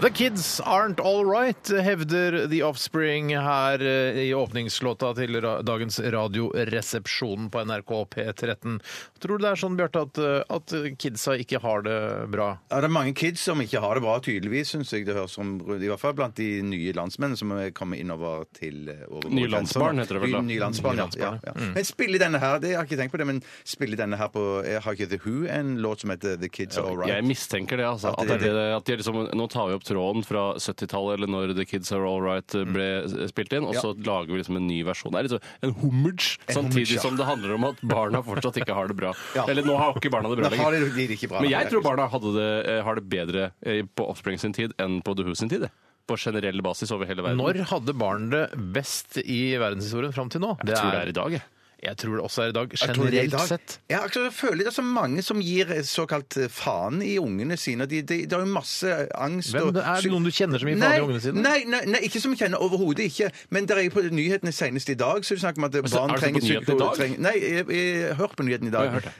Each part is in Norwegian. The Kids Aren't All Right, hevder The Offspring her eh, i åpningslåta til ra- dagens Radioresepsjonen på NRK P13. Tror du det er sånn, Bjarte, at, eh, at kidsa ikke har det bra? Ja, det er mange kids som ikke har det bra, tydeligvis, syns jeg det høres som. I hvert fall blant de nye landsmennene som er kommet innover til eh, over Nye grensen. landsbarn heter det vel da? Nye landsbarn, Nye Mm. ja. ja, ja. Men spille denne her, det jeg har jeg ikke tenkt på det, men spille denne her på jeg Har ikke The Who en låt som heter The Kids Are All Jeg Right? mistenker det. altså. At At det- det, er det, at de liksom, nå tar vi opp tråden fra 70-tallet, eller når The Kids Are All Right eh, Mm. ble spilt inn, og så lager vi liksom en ny versjon. Det er liksom en hummage, homage, samtidig ja. som det handler om at barna fortsatt ikke har det bra. Ja. Eller nå har ikke barna det bra Nå har lenger. de de det ikke bra. Men jeg Nei, tror barna hadde det, eh, har det bedre eh, på Offspring sin tid enn på The Who sin tid. jeg. På generell basis over hele verden. Når hadde barn det best i verdenshistorien fram til nå? Jeg tror det er i dag, jeg. Jeg tror det også er i dag, Jeg tror det er i generelt dag. sett. Ja, akkurat, jeg føler det er så mange som gir eh, såkalt faen i ungene sine. De, de, det er jo masse eh, angst Hvem og det er? psy- Noen du kjenner som gir faen nei, i ungene sine? Nei, nei, nei, ikke som jeg kjenner overhodet ikke. Men det er jo på nyhetene senest i dag så er det snakk om at så- barn er det så på trenger nyhetene i psyko- dag? trenger- Nei, jeg, jeg, hør på nyhetene i Ja, jeg dag. hørte.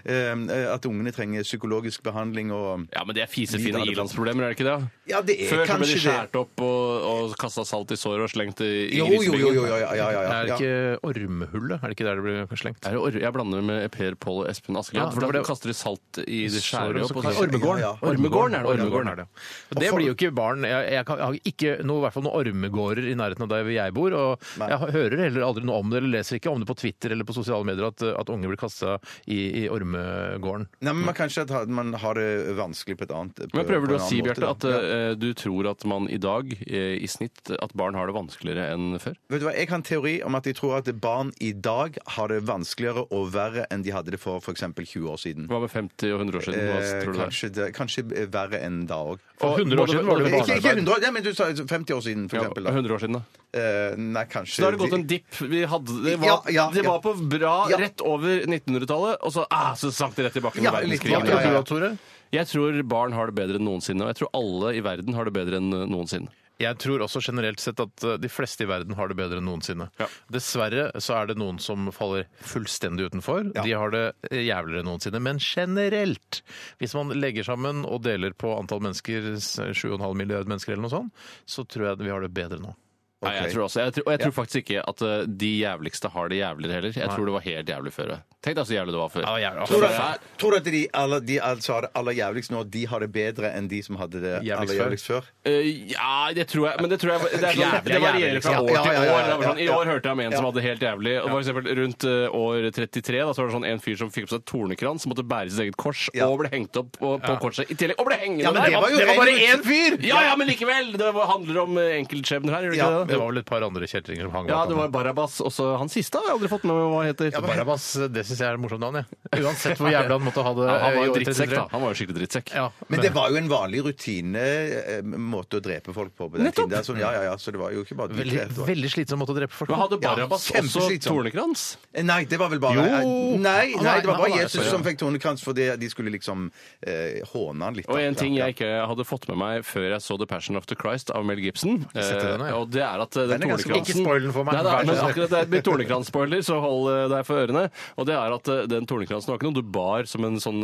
Eh, at ungene trenger psykologisk behandling og Ja, men det er Livet fisefine hadde ilandsproblemer, er det ikke det? Ja, det er Før så ble de kanskje det. skåret opp og, og kasta salt i såret og slengt i, i Jo, jo, jo, jo, grisebingen. ja, ja, ja, ja, Er det ja. ikke ormehullet? Er det ikke der det blir slengt? Er det or jeg blander med Per Pål og Espen Askeladd. Ja, for det var da det- kaster de salt i det Sorry, skjæret så opp. og kan- så- Ormegården. Ja, ja. Ormegården er det. Ormegården er det. Og det blir jo ikke barn Jeg, jeg, kan, jeg har ikke noe, i hvert fall noen ormegårder i nærheten av der jeg bor. Og jeg hører heller aldri noe om det, eller leser ikke om det på Twitter eller på sosiale medier at, at unge blir kasta i, i ormegården. Nei, men man kanskje at man har det vanskelig på et annet Men på prøver du en å annen si, måte, Bjarte, da. at Ja. eh, du tror at man i dag eh, i snitt at barn har det vanskeligere enn før? Vet du hva, Jeg har en teori om at jeg tror at barn i dag har det vanskeligere og verre enn de hadde det for f.eks. 20 år siden. Hva med 50 og 100 år siden? Hva Eh, tror du det er? kanskje, det, kanskje verre enn da òg. For 100 år siden var det jo Ikke, ikke barnearbeid. 100 år, nei, men du sa 50 år siden, for Ja, eksempel. Da. 100 år siden, da. Eh, nei, kanskje Så da har det gått en dipp. Vi hadde, det, var, Ja, ja, det ja. var på bra Ja. rett over 1900-tallet, og så, ah, så sank det rett tilbake med Ja, litt- verdenskrigen. ja, ja, ja. Tore? Jeg tror barn har det bedre enn noensinne, og jeg tror alle i verden har det bedre enn eh, noensinne. Jeg tror også generelt sett at uh, de fleste i verden har det bedre enn noensinne. Ja. Dessverre så er det noen som faller fullstendig utenfor. De har det eh, jævligere enn noensinne. Men generelt, hvis man legger sammen og deler på antall mennesker, s- 7,5 milliard mennesker eller noe sånt, så tror jeg vi har det bedre nå. Nei, jeg tror også, jeg tror, og jeg tror faktisk ikke at eh, de jævligste har det jævligere heller. Jeg tror det var helt jævlig før. jeg. Tenk deg så jævlig det var før. Ja, jævlig. Tror du, Så det er- at, tror du at de, aller, de altså har det aller jævligst nå, de har det bedre enn de som hadde det Jævligst aller før. jævligst før? Eh, ja, det tror jeg, men det tror jeg Det, er sånn, Jævlig, det varierer jævlig, fra liksom. år Ja, til ja, ja, år. Det var ja, sånn, I ja. år hørte jeg om en som hadde det helt jævlig. Og for eksempel, rundt eh, år 33 da, så var det sånn en fyr som fikk på seg tornekrans, måtte bære sitt eget kors Ja. og ble hengt opp på, på korset. I tillegg, og ble hengende Ja, men der! det var jo ren- bare én fyr! Ja, ja, men likevel! Det var- handler om eh, enkeltskjebner her, gjør det Ja, ikke det? Det var vel et par andre kjeltringer som hang Ja, bak det han. var Barabas. Også han siste har jeg aldri fått med meg hva heter. Barabas, det syns jeg er et morsomt navn, jeg. Uansett hvor jævlig han måtte ha det. Ja, eh, han var i jo år drittsekk, 33. da. Han var jo skikkelig drittsekk. Ja, Men det var jo en vanlig rutine eh, måte å drepe folk på på den tiden. Der, så, ja, ja, ja, så det var jo ikke bare de veldig, tre, det var- veldig slitsom måte å drepe folk Men på. hadde Ja, Barabas også kjempeslitsomt. tornekrans? Eh, Nei, det var vel bare Jo. Nei, nei, det var Nei, bare nei, Jesus sorry, ja. som fikk tornekrans fordi de skulle liksom eh, håne han litt. da. Og en ting Ja, jeg ikke hadde fått med meg før jeg så The Passion of the Christ av Mel Gibson, sett det eh, nå, ja. og det er at eh, den Den er ganske- tornekransen ikke spoil den for meg. Nei, da, Vær så men snill. akkurat det blir tornekrans-spoiler, så hold eh, deg for ørene. Og det er at eh, den tornekransen var ikke noe du bar som en sånn,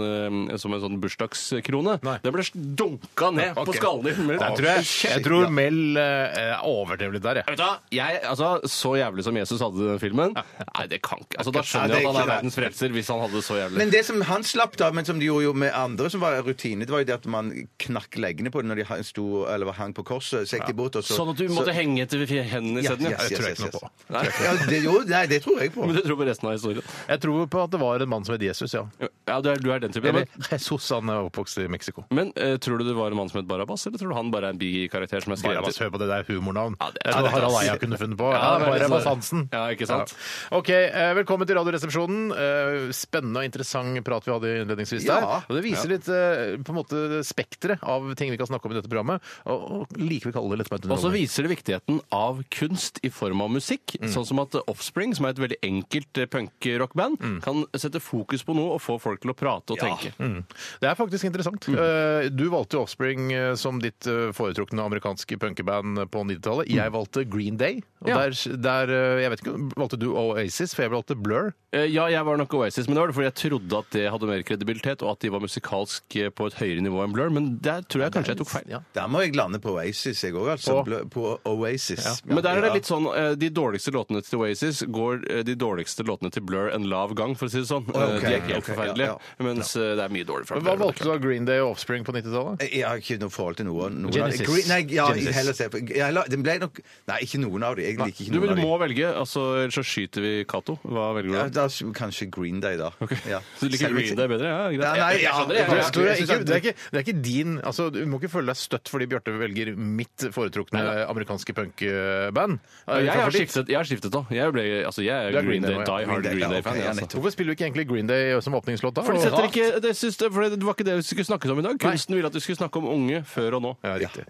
eh, som en sånn bursdagskrone. Nei. Den ble dunka ned på skallen i Der himmelen. tror jeg, jeg tror Mel eh, overdrev litt der, jeg. Vet du hva? Jeg, altså, Så jævlig som Jesus hadde i den filmen Nei, det kan ikke altså, Da Nei, skjønner det jeg at han er er ikke- verdens frelser, hvis han hadde det så jævlig. Men det som han slapp, da, men som de gjorde jo med andre, som var rutine, det var jo det at man knakk leggene på det når de hang- sto, eller hang på korset. Så gikk de bort, og så Sånn at du måtte henge etter hendene Ja, isteden? yes, Det tror jeg ikke yes, noe yes, på. yes. Ja, det, jo, nei, det tror jeg på. Men du tror på resten av historien? Jeg tror på at det var en mann som het Jesus, ja. Ja, du er, du er den typen. Eller Men, Jesus, han er oppvokst i Mexico. men eh, tror du det var en mann som het Barabas, eller tror du han bare er en bikarakter som er skrevet? Barabas, hør på det der humornavn. Ja, det- det er noe ja, det- Harald Eia kunne funnet på. Ja, Ja, det er veldig Barabas sant. Hansen. Ja, ikke sant? Ja. Ok, eh, Velkommen til Radioresepsjonen. Eh, Spennende og interessant prat vi hadde innledningsvis der. Ja. Og Det viser litt eh, på en måte spekteret av ting vi kan snakke om i dette programmet. Og, og likevel kaller det lettbeint Og så underholdning. viser det viktigheten av kunst i form av musikk. Sånn som at Offspring, som er et veldig enkelt eh, punk-rockband, kan sette fokus på noe og få folk til å prate og tenke. Det er faktisk interessant. Mhm. Eh, Du valgte jo Offspring eh, som ditt eh, foretrukne amerikanske punkeband på 90-tallet. Jeg valgte Green Day. Og Mhm. Ja. der, der eh, jeg vet ikke, Valgte du Oasis? For jeg valgte Blur. Eh, Ja, jeg var nok Oasis, men det var det fordi jeg trodde at det hadde mer kredibilitet, og at de var musikalsk eh, på et høyere nivå enn Blur, men der tror jeg kanskje jeg tok feil. Ja. Der må jeg lande på Oasis, jeg òg, altså. På, på Oasis. Men der er det litt sånn eh, De dårligste låtene til Oasis går eh, de dårligste låtene til Blur en lav gang, for å si det sånn. Eh, ok. De er ikke helt Ok, ja, forferdelige, ja. mens eh, det er mye dårlig fra Men Hva Blur. valgte du av Green Day og Offspring på 90-tallet? Eh, Jeg har ikke noe forhold til noen. noen Genesis. Av de. Green, nei, ja, Genesis. heller se på. jeg la- Den ble nok Nei, ikke noen av dem. Jeg liker ikke Du, noen av du må velge, altså, ellers så skyter vi Cato. Hva velger du? dem. Ja, da? da, kanskje Green Day, da. Ja. Så du liker Selv- Green Day bedre? Ja, greit. Ja, nei, Jeg- jeg ja, skjønner det, jeg- Jeg jeg- tror jeg jeg ikke, synes at- det, er ikke, det er ikke din altså, Du må ikke føle deg støtt fordi Bjarte velger mitt foretrukne amerikanske punkband. Eh, Jeg har favoritt. skiftet, jeg har skiftet da. Jeg, ble, altså, jeg Du er er Green Green Day, Day, ja. die Green hard Day, ja, Green Day-fan. ok, ja, altså. nettopp. Hvorfor spiller du ikke egentlig Green Day som åpningslåt, da? For de setter Og- ikke, det, syns, for det var ikke det vi skulle snakke om i dag. Kunsten ville at vi skulle snakke om unge før og nå. Ja, riktig.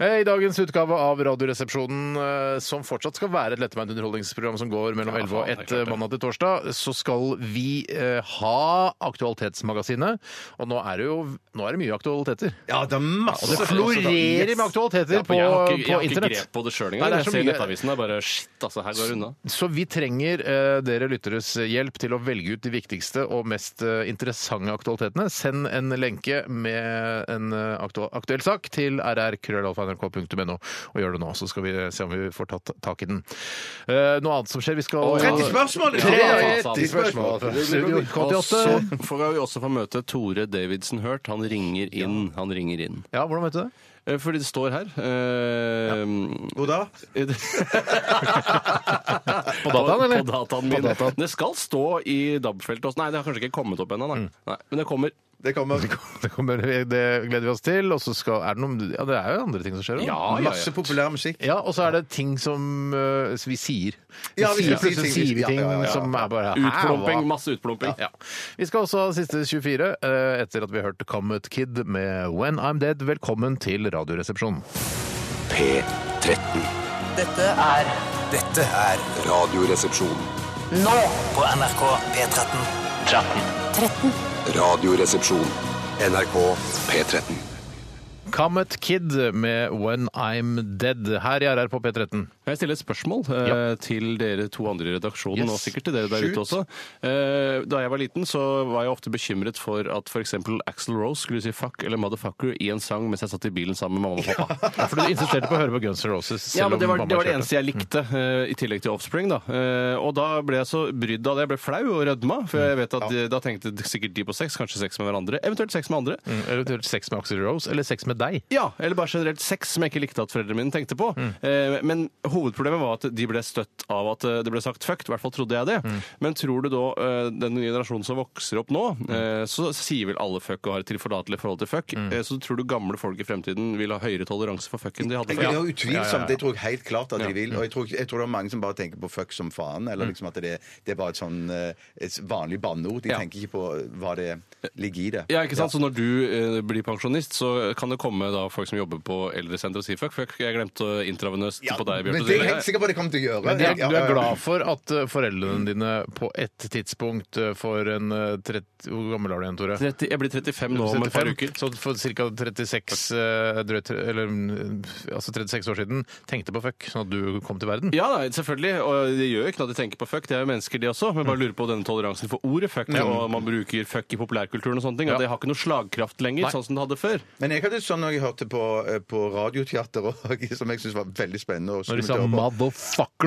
Eh, I dagens utgave av Radioresepsjonen, eh, som fortsatt skal være et lettbeint underholdningsprogram som går mellom Ja, 11 og faen, det er 1 klart det. mandag til torsdag, så skal vi eh, ha Aktualitetsmagasinet. Og nå er det jo nå er det mye aktualiteter. Ja, det er masse Og det florerer med aktualiteter Ja, på, for jeg har ikke, jeg på har ikke internett. grep på det sjøl Nei, engang. det er Jeg så ser mye- nettavisen det er bare shit, altså. Her går det unna. Så vi trenger eh, dere lytteres hjelp til å velge ut de viktigste og mest eh, interessante aktualitetene. Send en lenke med en eh, aktu aktuell sak til rrkrøllalfa.nrk.no, og gjør det nå, så skal vi se om vi får tatt tak i den. Eh, noe annet som skjer, vi skal 30 spørsmål! Ja, ja, 30 spørsmål. fra Studio Og så 88. får vi også få møte Tore Davidsen Hurt. Han ringer inn. Han ringer inn. Ja, hvordan vet du det? Eh, Fordi det står her eh, Hvor da? På dataen, eller? På dataen min. Det skal stå i DAB-feltet også. Nei, det har kanskje ikke kommet opp ennå. nei. Nei, Men det kommer. Det kommer Det, kommer, det gleder vi oss til. Og så skal, er det, noen, ja, det er jo andre ting som skjer òg. Ja, ja, masse ja. populær musikk. Ja, og så er det ting som øh, vi sier. Vi Ja, vi sier sier plutselig ting. sier vi Ja, ting ja, ja, ja. som er bare hæ, Utplumping. hva? Masse utplumping. Ja. Vi skal også ha siste 24 eh, etter at vi har hørt Comet Kid med When I'm Dead. Velkommen til Radioresepsjonen. P13. Dette er Dette er Radioresepsjon. nå på NRK P13. Radioresepsjon. NRK P13. Comet Kid med When I'm Dead her i RR på P13. Kan jeg stille et spørsmål eh, til dere to andre i redaksjonen, Yes. og sikkert til dere der ute også? Eh, da jeg var liten, så var jeg ofte bekymret for at f.eks. Axel Rose skulle si 'fuck' eller 'motherfucker' i en sang mens jeg satt i bilen sammen med mamma og pappa. Ja, for du insisterte på å høre på Guns N' Roses. Ja, selv men om det var, mamma det var det kjørte. Mm. eneste jeg likte, eh, i tillegg til Offspring. da. Eh, og da ble jeg så brydd av det. Jeg ble flau og rødma, for Mm. jeg vet at eh, da tenkte sikkert de på sex, kanskje sex med hverandre, eventuelt sex med andre. Mm, Eventuelt sex med Axel Rose, eller sex med deg. Ja, eller bare generelt sex som jeg ikke likte at foreldrene mine tenkte på. Eh, men hovedproblemet var at de ble støtt av at eh, det ble sagt fucked, i hvert fall trodde jeg det. Men tror du da eh, den nye generasjonen som vokser opp nå, eh, så sier vel alle fuck og har et tilforlatelig forhold til fuck, eh, så tror du gamle folk i fremtiden vil ha høyere toleranse for fuck enn de hadde Det er før? jo utvilsomt. Det tror jeg helt klart at de vil. Og jeg tror, jeg tror det er mange som bare tenker på fuck som faen. Eller Mm. liksom at det, det er bare et sånn eh, et vanlig banneord. De Ja. tenker ikke på eh, hva det ligger i det. Ja, ikke sant? Så når du eh, blir pensjonist, så kan det komme da folk som jobber på eldresenter og si fuck, fuck, jeg glemte å intravenøst på deg, Bjørte. Men det er jeg helt sikker på at det kommer til å gjøre. Men Ja, er, du ja, er ja. glad for at eh, foreldrene dine på et tidspunkt eh, for en eh, 30 Hvor gammel er du igjen, Tore? 30, jeg blir 35 nå om et par 75, uker. Så for ca. 36, eh, drøyt, eller, mm, altså 36 år siden tenkte på fuck, sånn at du kom til verden. Ja, da, selvfølgelig. Og de gjør jo ikke noe at de tenker på fuck, de er jo mennesker de også. Men Mm. bare lurer på denne toleransen for ordet fuck, og man bruker fuck i populærkulturen og sånne ting. Ja. Og det har ikke noe slagkraft lenger, sånn som det hadde før. Men jeg hadde sånn når jeg hørte på, eh, på radioteater òg, som jeg syntes var veldig spennende. Når og de skummelt sa å høre på.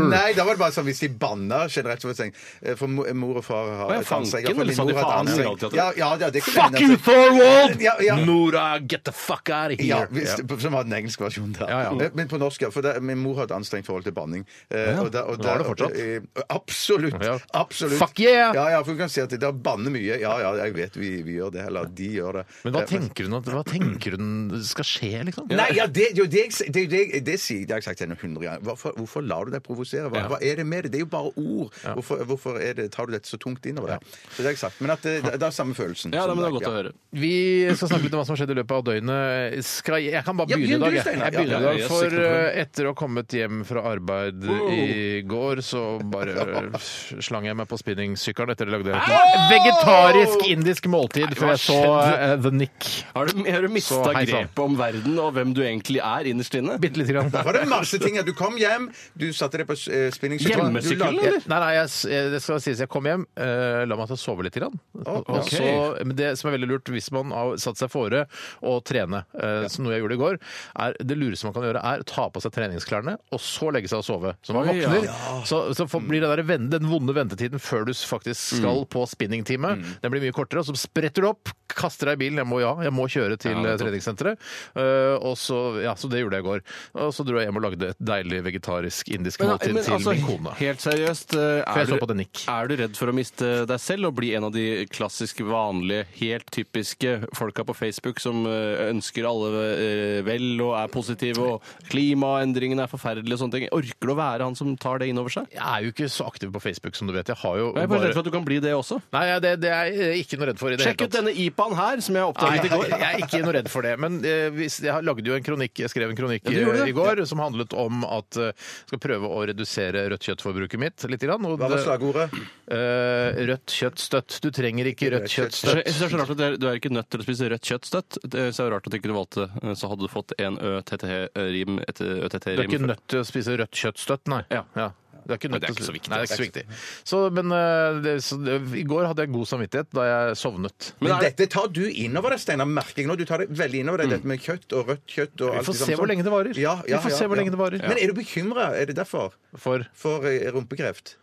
'motherfucker'. Nei, da var det bare sånn hvis de banna generelt. så var det sånn, eh, For mo- mor og far har Å, ja, et ansikt, fanken, for eller min sa de mor har et faen i ansikt. radioteater? Ja, ja, ja, det kunne Fuck hende, you, altså. Thorwald! Ja, ja. Nora, get the fuck out of Ja, here! hvis, Som var den engelske versjonen der. Ja, ja. Eh, Men på norsk, ja. For det, min mor har et anstrengt forhold til banning. Eh, og da- og Hun har da- det fortsatt? eh, absolutt. Ja. absolutt. Fuck yeah! Ja, ja, for hun kan si at de der banner mye. Ja, ja, jeg vet vi, vi gjør det. Eller de gjør det. Men hva Eh, tenker hun at hva tenker hun skal skje, liksom? Nei, ja, det, det, det, det, det, det, det, sier- det har jeg sagt til henne hundre ganger. hvorfor, hvorfor lar du deg provosere? Hva, Ja. hva er det med det? Det er jo bare ord. Hvorfor, hvorfor er det, tar du dette så tungt inn over deg? Så det har jeg sagt. Men at det, det er samme følelsen. Ja, som da, men det deg, er godt ja. å høre. Vi skal snakke litt om hva som har skjedd i løpet av døgnet. Skal jeg, jeg kan bare Ja, begynne i dag. begynn du, Jeg, Steinar. jeg begynner Ja, i ja, dag, yes, For ikke noe problem. eh, etter å ha kommet hjem fra arbeid i går, så bare slang jeg meg på spinningsykkelen etter det lagde jeg et vegetarisk indisk måltid før jeg så eh, The Nick. Har du, har du mista Så, hei sann. grepet om verden og hvem du egentlig er innerst inne? Bitte lite grann. Da var det masse ting. at Du kom hjem, du satte deg på eh, spinningsykkelen. Hjemmesykkel, Du lagde- eller? Nei, nei, jeg, s- eh, det skal sies jeg kom hjem, eh, la meg til å sove litt. Grann. Og- og ok. så- men det som er veldig lurt hvis man har satt seg fore å trene, eh, som noe jeg gjorde i går, er det lureste man kan gjøre, er å ta på seg treningsklærne og så legge seg og sove. Så man Oi, ja. våkner, så, så får- blir det der, ven- den vonde ventetiden før du Mm. faktisk skal på spinningtime, den blir mye kortere, og så spretter du opp, kaster deg i bilen, jeg må, ja, jeg må kjøre til eh, treningssenteret, Eh, og så, ja, så det gjorde jeg i går. Og så dro jeg hjem og lagde et deilig vegetarisk indisk Men, måltid men til altså, min kone. helt seriøst, eh, For jeg er så på du, det nikk. er du redd for å miste deg selv og bli en av de klassiske, vanlige, helt typiske folka på Facebook som eh, ønsker alle eh, vel og er positive og klimaendringene er forferdelige og sånne ting? Orker du å være han som tar det inn over seg? Jeg er jo ikke så aktiv på Facebook som du vet. Jeg har jo Jeg er bare bare redd for at du kan bli det også. Nei, ja, det, det er jeg ikke noe redd for i det Sjekk hele ut tatt. denne IPA-en her, som jeg Nei, oppdaget i går. jeg er ikke noe redd for det. Men eh, hvis, jeg har- lagde jo en kronikk, jeg skrev en kronikk du gjorde eh, i det. går som handlet om at eh, jeg skal prøve å redusere rødt kjøttforbruket mitt litt. Grann, og Hva var det- slagordet? eh, rødt kjøtt støtt. Du trenger ikke rødt Rødt kjøtt kjøtt støtt. Jeg synes det er så rart at det er- Du er ikke nødt til å spise rødt kjøtt støtt. Det- Så er det rart at ikke du valgte eh, Så hadde du fått en ØTT-rim. Du er ikke nødt til å spise rødt kjøtt støtt, nei. Ja. Du er ikke Men nødt det er til å ikke så spi- viktig. Nei, det er ikke så viktig. Så, men eh, det, så, det, i går hadde jeg god samvittighet da jeg sovnet. Men Men er det, dette tar du innover deg, Steinar. Merker jeg nå. Du tar det veldig innover deg, dette med kjøtt og rødt kjøtt. Og alt Mm. får det se samme hvor sånn. lenge det varer. Ja, Vi ja, får ja, se hvor ja. lenge det varer. Men er du bekymra? Er det derfor? For For eh, rumpekreft?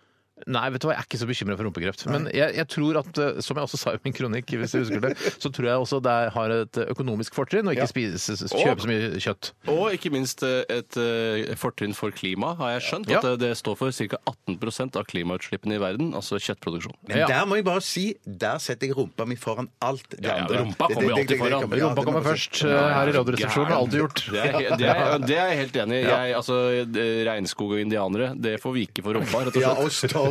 Nei, vet du hva, jeg er ikke så bekymra for rumpekreft. Men jeg, jeg tror at, eh, som jeg også sa i min kronikk, hvis jeg husker det, så tror jeg også det er- har et eh, økonomisk fortrinn å ikke spise, kjøpe så mye kjøtt. og ikke minst eh, et eh, fortrinn for klima, har jeg skjønt. Ja. At eh, det står for ca. 18 av klimautslippene i verden, altså kjøttproduksjon. Men Ja. der må jeg bare si, der setter jeg rumpa mi foran alt det Ja, ja, andre. rumpa Det- kommer det- jo alltid det- det- det- foran. ja, Rumpa det må kommer jeg si. først eh, her i Radioresepsjonen. Alltid gjort. Det er, he- det, er, det er jeg helt enig i. Jeg- Altså, eh, regnskog og indianere, det får vike for rumpa, rett og Ja, slett. og storm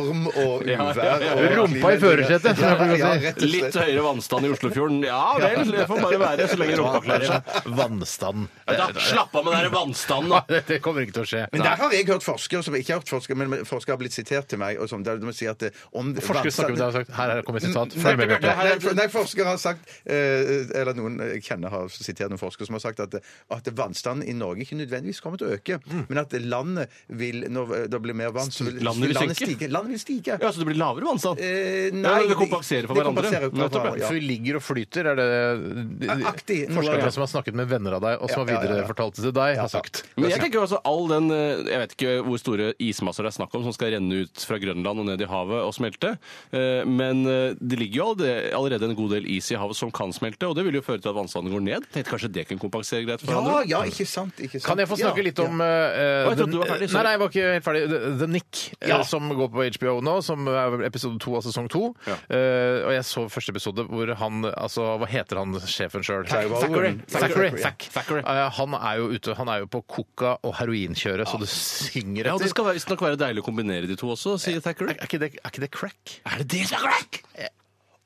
og uvær. og- Rumpa i førersetet, som jeg pleier å si. Ja, ja, rett og slett. Litt høyere vannstand i Oslofjorden. Ja vel, det får bare være så lenge rumpa klarer seg. Vannstand. Da, slapp av med den der vannstanden, da! Det, det kommer ikke til å skje. Men der har jeg hørt forskere som ikke har hørt forskere, men forskere har blitt sitert til meg. Og sånn, der de sier at eh, om Forskere snakker om det og har sagt Her er- kommer et sitat. Følg med, Nei, Bjarte. nei, for- nei, forskere har sagt eh, Eller noen jeg kjenner har sitert noen forskere som har sagt at, at vannstanden i Norge ikke nødvendigvis kommer til å øke, Mm. men at landet vil Når det blir mer vann, så vil Landet vil synke? stige. Landet vil stige. Ja, Så det blir lavere vannstand? Eh, Ja, men det kompenserer for det hverandre. kompenserer for Nettopp, ja. hverandre, ja. For vi ligger og flyter, er det de- de- Aktig, noe, forskerne ja. som har snakket med venner av deg, og som har Ja, ja, ja, ja. viderefortalt det til deg, har sagt. Men jeg tenker jo altså all den eh, Jeg vet ikke hvor store ismasser det er snakk om som skal renne ut fra Grønland og ned i havet og smelte. Eh, Men eh, det ligger jo allerede- allerede en god del is i havet som kan smelte, og det vil jo føre til at vannstanden går ned. Tenkte kanskje det kan kompensere greit for Ja, hverandre. ja, ikke sant. Ikke sant. Kan jeg få snakke ja, litt om ja. eh, Å, jeg trodde du var den- ferdig, Nei, sorry. nei, jeg var ikke helt ferdig. The, the Nick, eh, Ja. som går på HBO nå, som er episode to av sesong to. Ja. Eh, og jeg så første episode hvor han Altså, hva heter han sjefen sjøl? Thackeray. Thackeray. Thackeray. Thackeray. Eh, han er jo ute. Han er jo på coca- og heroinkjøret, så det synger Ja, og etter. Det skal være- visstnok være deilig å kombinere de to også, sier Thackeray. er, ikke det, er ikke det crack? Er det det som er crack?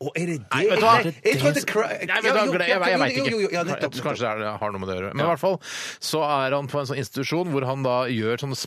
Å, er det det? Nei, vet du hva? jeg jeg trodde cra- Nei, vet du Ja, hva, jo, gle- jeg, jeg, jo, vet jo, jo, jo, ja, ikke. nettopp, Kanskje- Kanskje det er- det har noe med det å gjøre. Men i hvert fall så er han på en sånn institusjon hvor han da gjør sånne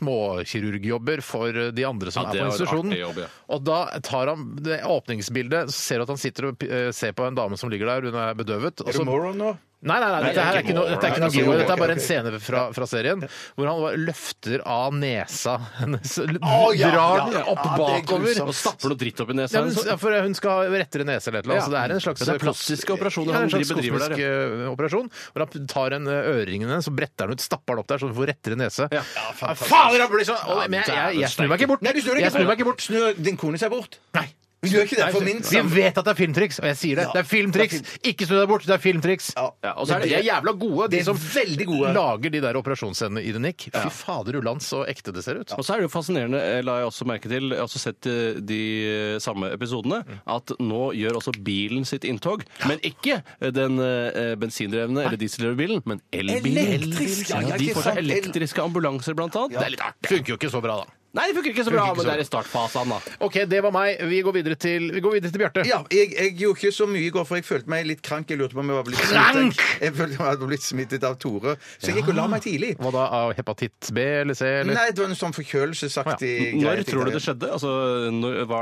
småkirurgjobber for eh, de andre som Ja, er det på er jo en institusjonen. artig jobb, ja. Og da tar han det åpningsbildet, så ser du at han sitter og eh, ser på en dame som ligger der, hun er bedøvet. og Er så- du moron nå? Nei, nei, nei, dette her er ikke noe, dette er ikke noe Nei, giveaway. ok, Dette er bare en Altså, ok. scene fra, fra serien hvor han bare løfter av nesa hennes. Å, ja, drar ja, ja. den opp Ja, det er bakover. grusomt. Og stapper noe dritt opp i Ja, nesa. men, ja, for eh, hun skal ha rettere nese eller et eller annet. Ja. Så det er en slags Ja, det er plastiske operasjoner ja, han en slags driver- driver kosmisk der, eh, operasjon. Hvor han tar en eh, øreringen hennes, så bretter han ut, stapper han opp der, så hun får rettere nese. Ja. Ah, Fader, jeg blir så Å, sånn- Men jeg, jeg, jeg snur meg ikke bort. Nei, du snur deg jeg snur ikke bort. meg ikke bort. Snur din kone seg bort? Nei. Vi gjør ikke det for min Vi vet at det er filmtriks, og jeg sier det. Ja, Det er filmtriks! det er Ikke snu deg bort, det er filmtriks. Ja. Ja, og så er det- Men de er jævla gode, de er som veldig gode. lager de der operasjonsscenene i The Nick. Fy fader uland, så ekte det ser ut. Og så er det jo fascinerende, eh, la jeg også merke til, jeg har også sett eh, de eh, samme episodene, at nå gjør også bilen sitt inntog, men ikke eh, den eh, bensindrevne eller dieseldrevne bilen, men elbilen. Elektrisk, ja, ja, ja, de ikke får seg sant? elektriske ambulanser, blant annet. Det er litt artig. Funker jo ikke så bra, da. Nei, det funker ikke så bra, Funker ikke men så det er i startfasen, da. OK, det var meg. Vi går videre til, vi går videre til Bjarte. Ja, jeg, jeg gjorde ikke så mye i går, for jeg følte meg litt krank. Jeg lurte på om jeg var blitt Krank? smittet, jeg følte meg hadde blitt smittet av Tore. Så jeg gikk og la meg tidlig. Hva da, av hepatitt B eller C? Eller? Nei, det var en sånn forkjølelsesaktig Når tror du skjedde? det skjedde? Altså, når, hva,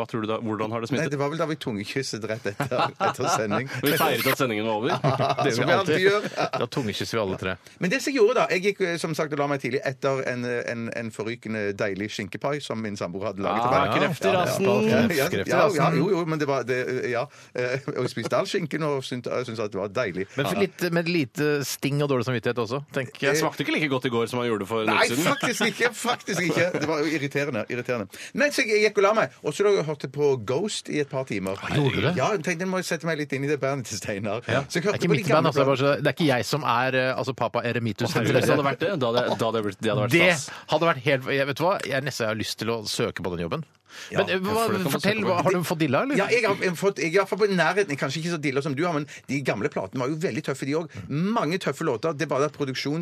hva tror du da, hvordan har det Nei, smittet? det var vel da vi tungekysset rett etter, etter sending. Vi feiret at sendingen var over. Det Som gjør altså, vi vi alltid. alltid gjør. Da tungekysser vi alle tre. Men det som jeg gjorde da, jeg gikk eh, som sagt og la meg tidlig etter en, eh, en, en forrykende deilig skinkepai som min samboer hadde laget. til Ah, meg. kreft i rassen. Ja, Kreft, ja, kreft i ja, ja, rassen. jo, jo, men det var det, eh, Ja. Eh, Og jeg spiste all skinken og syntes eh, syntes at det var deilig. Men for litt, med lite sting og dårlig samvittighet også, tenker Eh, Jeg jeg. smakte ikke like godt i går som jeg gjorde for en Ah. Nei, uke siden. faktisk ikke! faktisk ikke Det var jo irriterende. irriterende. Mens jeg gikk og la meg, og så lå jeg og hørte på Ghost i et par timer. gjorde du det? Ja, jeg tenkte jeg må sette meg litt inn i det bandet til Steinar. Ja. Så Det er jeg hørte ikke på de mitt band, gamle altså. Det er bare så- Det er ikke jeg som er eh, altså, Papa Eremitus. Herregud, Hvis det hadde vært det, da hadde, jeg- da hadde jeg blitt- det hadde vært Det stas. hadde vært helt jeg Vet du hva, jeg nesten har lyst til å søke på den jobben. Men eh, hva, for det kan man fortell, søke på. hva, har du fått dilla, eller? Ja, jeg har jeg har fått, jeg er i hvert fall på nærheten, kanskje ikke så dilla som du har, men de gamle platene var jo veldig tøffe, de òg. Mange tøffe låter. Det er bare at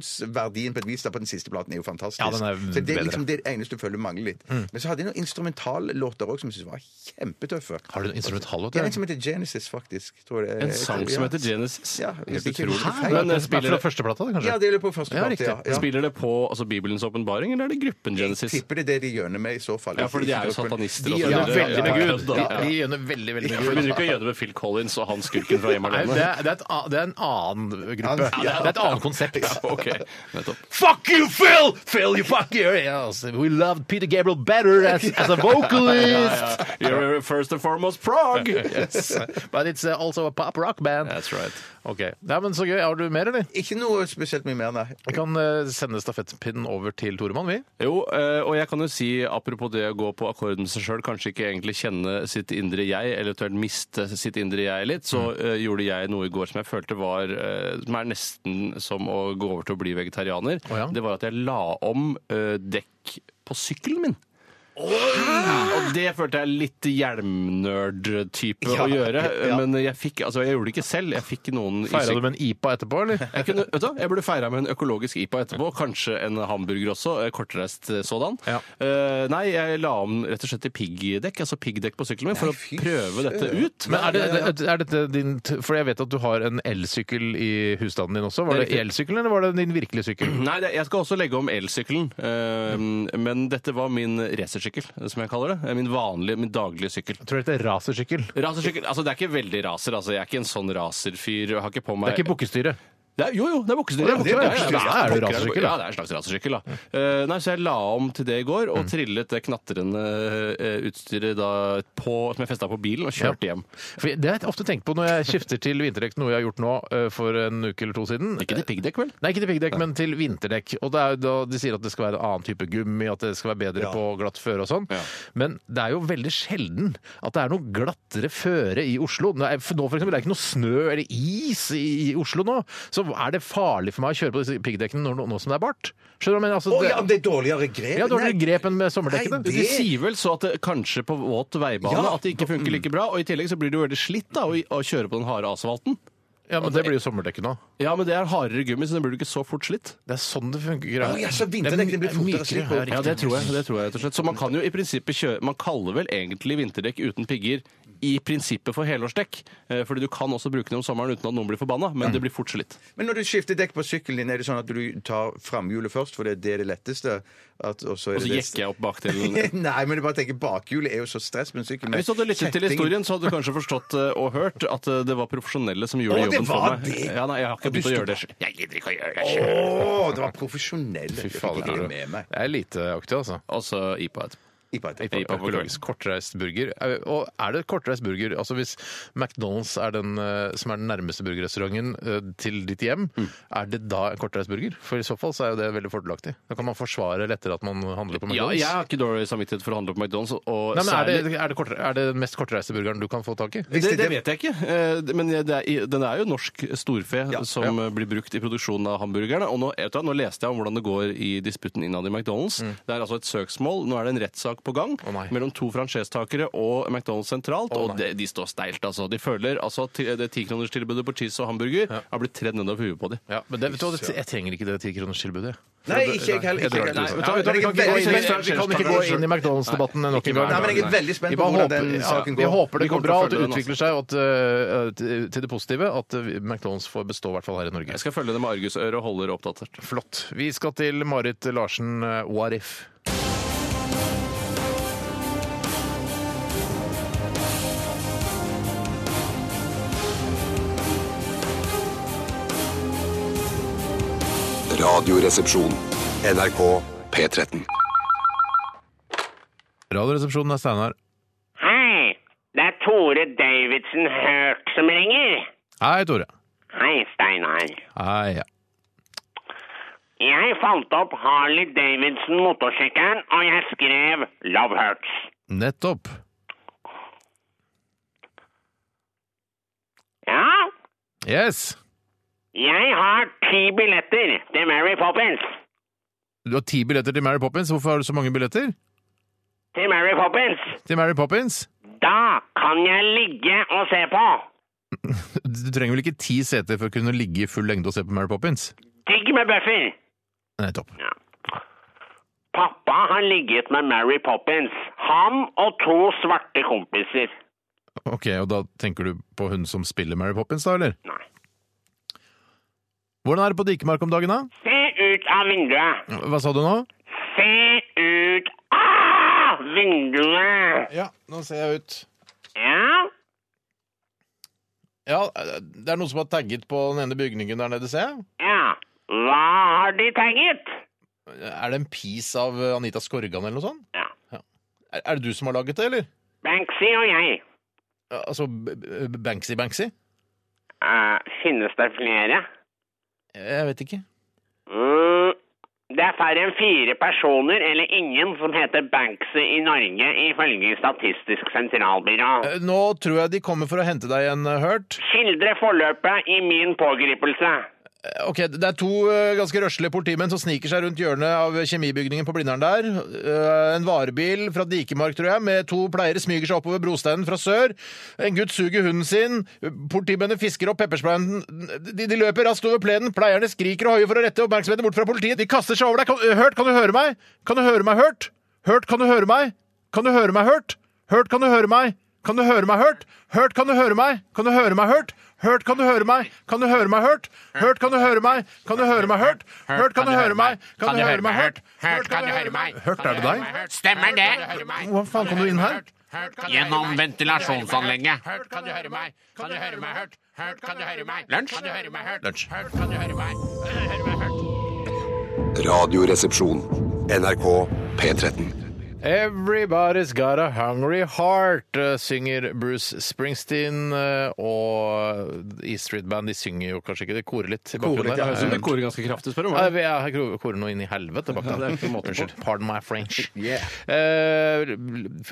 produksjonsverdien på et vis da på den siste platen er jo fantastisk. Ja, den er så det bedre. Mm. er liksom det eneste du føler mangler litt. Men så hadde jeg noen instrumentallåter òg som jeg syntes var kjempetøffe. Har du en instrumentallåt? Det er en eller? som heter Genesis, faktisk. Tror jeg. Eh, En sang som heter Genesis. Ja, hvis Helt ikke- utrolig. Hæ? Men eh, Det er spiller fra første plata, det, Ja, kanskje? det er på første Ja, plate, riktig. ja. ja. Spiller det på altså, Bibelens åpenbaring, eller er det gruppen Genesis? Tipper det er det de gjøner med i så fall. Ja, fordi de er jo satanister. og De gjør sånn. Ja, det veldig med Ja, Gud. ja, De, ja. de gjønner veldig, veldig Vi med Gud. begynner ikke å gjøre det med Phil Collins og han skurken fra Hjemme Nei, det, alene. er, det, er et, a- det er en annen gruppe. Ja, Det er et annet konsept. Ok, nettopp. Fuck you, Phil! Phil, you fuck you! Yes, we loved Peter Gabriel better as, as a vocalist! You're first and foremost prog! Yes. But it's uh, also a pop rock band. That's right. Ok. Ja, men så gøy. Har du mer, eller? Ikke noe spesielt mye mer, nei. Vi kan eh, sende stafettpinnen over til Toremann, vi. Jo, eh, og jeg kan jo si, apropos det å gå på akkord med seg sjøl, kanskje ikke egentlig kjenne sitt indre jeg, eller eventuelt miste sitt indre jeg litt, så eh, gjorde jeg noe i går som jeg følte var eh, Som er nesten som å gå over til å bli vegetarianer. ja. Det var at jeg la om eh, dekk på sykkelen min. Ah! Og det følte jeg litt hjelmnerd-type å gjøre. Men jeg fikk, altså jeg gjorde det ikke selv. Jeg fikk noen i Feira syk- du med en IPA etterpå, eller? jeg, kunne, vet du, hva, jeg burde feira med en økologisk IPA etterpå. Kanskje en hamburger også. eh, Kortreist eh, sådan. Ja. Eh, nei, jeg la om rett og slett til piggdekk, altså piggdekk på sykkelen min, for fy å prøve dette ut. Eh, Men er, det, er dette din t- For jeg vet at du har en elsykkel i husstanden din også. Var Det er det elsykkelen, eller var det din virkelige sykkel? Nei, det- jeg skal også legge om elsykkelen. eh, men dette var min racersykkel, som jeg kaller det. Eh, Min vanlige, min daglige sykkel. Jeg tror det heter racersykkel. Det Rasersykkel, altså Det er ikke veldig raser. altså Jeg er ikke en sånn raserfyr. Jeg har ikke på meg er ikke bukkestyre. Det er, jo, jo, det er bukkestyr. Det er bukkestyr, Ja, ja, ja, da er det bukkestyr. rasersykkel, da. Ja, det er en slags rasersykkel, da. Eh, nei, så jeg la om til det i går, og trillet det knatrende eh, utstyret da på, som jeg festa på bilen, og kjørte hjem. For det har jeg ofte tenkt på når jeg skifter til vinterdekk, noe jeg har gjort nå eh, for en uke eller to siden. Ikke til piggdekk, vel? Nei, ikke til piggdekk, men til vinterdekk. Og det er jo da De sier at det skal være en annen type gummi, at det skal være bedre på glatt føre og sånn. Ja. Men det er jo veldig sjelden at det er noe glattere føre i Oslo. Det er, for nå for eksempel, det er ikke noe snø eller is i, i Oslo nå. Så er det farlig for meg å kjøre på disse piggdekkene nå, nå som det er bart. Skjønner du hva jeg mener? Altså, Å ja, om det er dårligere grep? ja, dårligere Nei. grep enn med sommerdekkene. Nei, det- De sier vel så at det kanskje på våt veibane Ja. at det ikke funker like bra. Og i tillegg så blir det jo veldig slitt da å, å kjøre på den harde asfalten. Ja, men det blir jo sommerdekket nå. Ja, men det er hardere gummi, så den blir du ikke så fort slitt. Det er sånn det funker. Å, ja, så vinterdekkene blir fortere slitt på. Ja, det tror jeg. det tror jeg rett og slett. Så man kan jo i prinsippet kjøre Man kaller vel egentlig vinterdekk uten pigger i prinsippet for helårsdekk. eh, Fordi du kan også bruke det om sommeren uten at noen blir forbanna, men det blir fort slitt. Men når du skifter dekk på sykkelen din, er det sånn at du tar framhjulet først, for det er det, det letteste? At, og så er Og så det jekker jeg opp bakdelen. Nei, men jeg bare tenker bakhjulet er jo så stress med en sykkel. med Hvis du hadde lyttet til kjetting. historien, så hadde du kanskje forstått eh, og hørt at eh, det var profesjonelle som Å, gjorde det jobben for var meg. det? Ja, nei, jeg har ikke Og du begynt å sto gjøre det selv. Jeg gidder ikke å gjøre det Å, selv. det var profesjonell. Fy fader, Jeg fikk Tore. ikke med meg. Det er liteaktig, altså. Og så IPA etterpå. IPA. heter det. IPA. Økologisk kortreist burger. Eh, Og er det kortreist burger? Altså Hvis McDonald's er den eh, som er den nærmeste burgerrestauranten eh, til ditt hjem, er det da en kortreist burger? For i så fall så er jo det veldig fordelaktig. Da kan man forsvare lettere at man handler på Ja, McDonald's. jeg har ikke dårlig samvittighet for å handle på McDonald's. Og Nei, men er det, særlig- er, det kortre, er det den mest kortreiste burgeren du kan få tak i? det, det vet jeg ikke, Eh, det- men det er, i- den er jo norsk storfe som eh, blir brukt i produksjonen av hamburgerne. Og nå, vet du hva, nå leste jeg om hvordan det går i disputten innad i McDonald's. Det er altså et søksmål. Nå er det en rettssak på gang Mm. Å, nei. mellom to franchisetakere og McDonald's sentralt. Å, nei. og det, de står steilt, altså. De føler altså at ti- det tikronerstilbudet på cheese og hamburger har blitt tredd ned over huet på dem. Ja, men det, vet du, hva, det- jeg trenger ikke det tikronerstilbudet. Nei, ikke jeg heller. Jeg Ikke drar det jeg til heller. USA. Ja, Ja, vet du hva, Vi kan men jeg er ikke gå veldig inn, spent- vi kan ikke gå inn i McDonald's-debatten nok en gang. Nei, men jeg er veldig spent Vi på bare hvordan den håper- ja, saken Vi går. håper det Vi går kommer til bra, å at det følge den, utvikler altså. seg, og at, eh, til til det positive, at eh, McDonald's får bestå, i hvert fall her i Norge. Jeg skal følge det med argusøre og holde det oppdatert. Flott. Vi skal til Marit Larsen, eh, What if? Radioresepsjon. NRK P13. Radioresepsjonen er Steinar. Hei, det er Tore Davidsen Hurt som ringer. Hei, Tore. Hei, Steinar. Hei, ja. Jeg fant opp Harley Davidson motorsykkelen, og jeg skrev Love Hurts. Nettopp. Ja, Yes! jeg har ti billetter til Mary Poppins. Du har ti billetter til Mary Poppins. Hvorfor har du så mange billetter Til Mary Poppins. til Mary Poppins? Da kan jeg ligge og se på. Du trenger vel ikke ti seter for å kunne ligge i full lengde og se på Mary Poppins? Digg med bøffer. Nettopp. Ja. Pappa har ligget med Mary Poppins. Han og to svarte kompiser. Ok, og da tenker du på hun som spiller Mary Poppins, da, eller? Nei. Hvordan er det på Dikemark om dagen, da? Se ut av vinduet! Hva sa du nå? Se ut av vinduet! Ja, nå ser jeg ut. Ja, Ja, det er noen som har tagget på den ene bygningen der nede, ser jeg. ja. Hva har de tagget? Er det en piece av Anita Skorgan eller noe sånt? Ja. Er, er det du som har laget det, eller? Banksy og jeg. Ja, Altså B- B- Banksy Banksy? Eh, finnes det flere? Jeg vet ikke. Mm. Det er færre enn fire personer eller ingen som heter Banksy i Norge, ifølge Statistisk sentralbyrå. Eh, Nå tror jeg de kommer for å hente deg igjen, Hurt. Skildre forløpet i min pågripelse. Eh, Ok, Det er to eh, ganske røslige politimenn som sniker seg rundt hjørnet av kjemibygningen på Blindern der. Eh, En varebil fra Dikemark, tror jeg, med to pleiere smyger seg oppover brosteinen fra sør. En gutt suger hunden sin. Politimennene fisker opp peppersprayen. De, de løper raskt over plenen. Pleierne skriker og hoier for å rette oppmerksomheten bort fra politiet. De kaster seg over deg. Kan, Hørt, kan du høre meg? Kan du høre meg, Hørt? Hørt, kan du høre meg? Kan du høre meg, Hørt? Hørt, kan du høre meg? Kan du høre meg, hørt? Hørt, kan du høre meg? Kan du høre meg, hørt? Hørt, kan du høre meg? Kan du høre meg, hørt? Hørt, kan du høre meg? Kan du høre meg, hørt? Hørt, kan du høre meg? Kan du høre meg, hørt? Hørt, kan du høre meg? Hørt, er det deg? Stemmer det? Hvordan faen kom du inn her? Gjennom ventilasjonsanlegget. Hørt, kan du høre meg? Kan du høre meg? Hørt, hørt, kan du høre meg? Lunsj? Kan du høre meg? Hørt, Lunsj. hørt, kan du høre meg? Kan du høre meg? Hørt. Radioresepsjon. NRK P13. Everybody's got a hungry heart, eh, synger Bruce Springsteen. eh, Og E Street Band de synger jo kanskje ikke, de korer litt. i bakgrunnen der. litt, ja, Eh, jeg synes Det korer ganske kraftig, spør du Nei, meg. vi er kro- korer noe inn i helvete bak der. Unnskyld. Pardon my French. Yeah. Eh,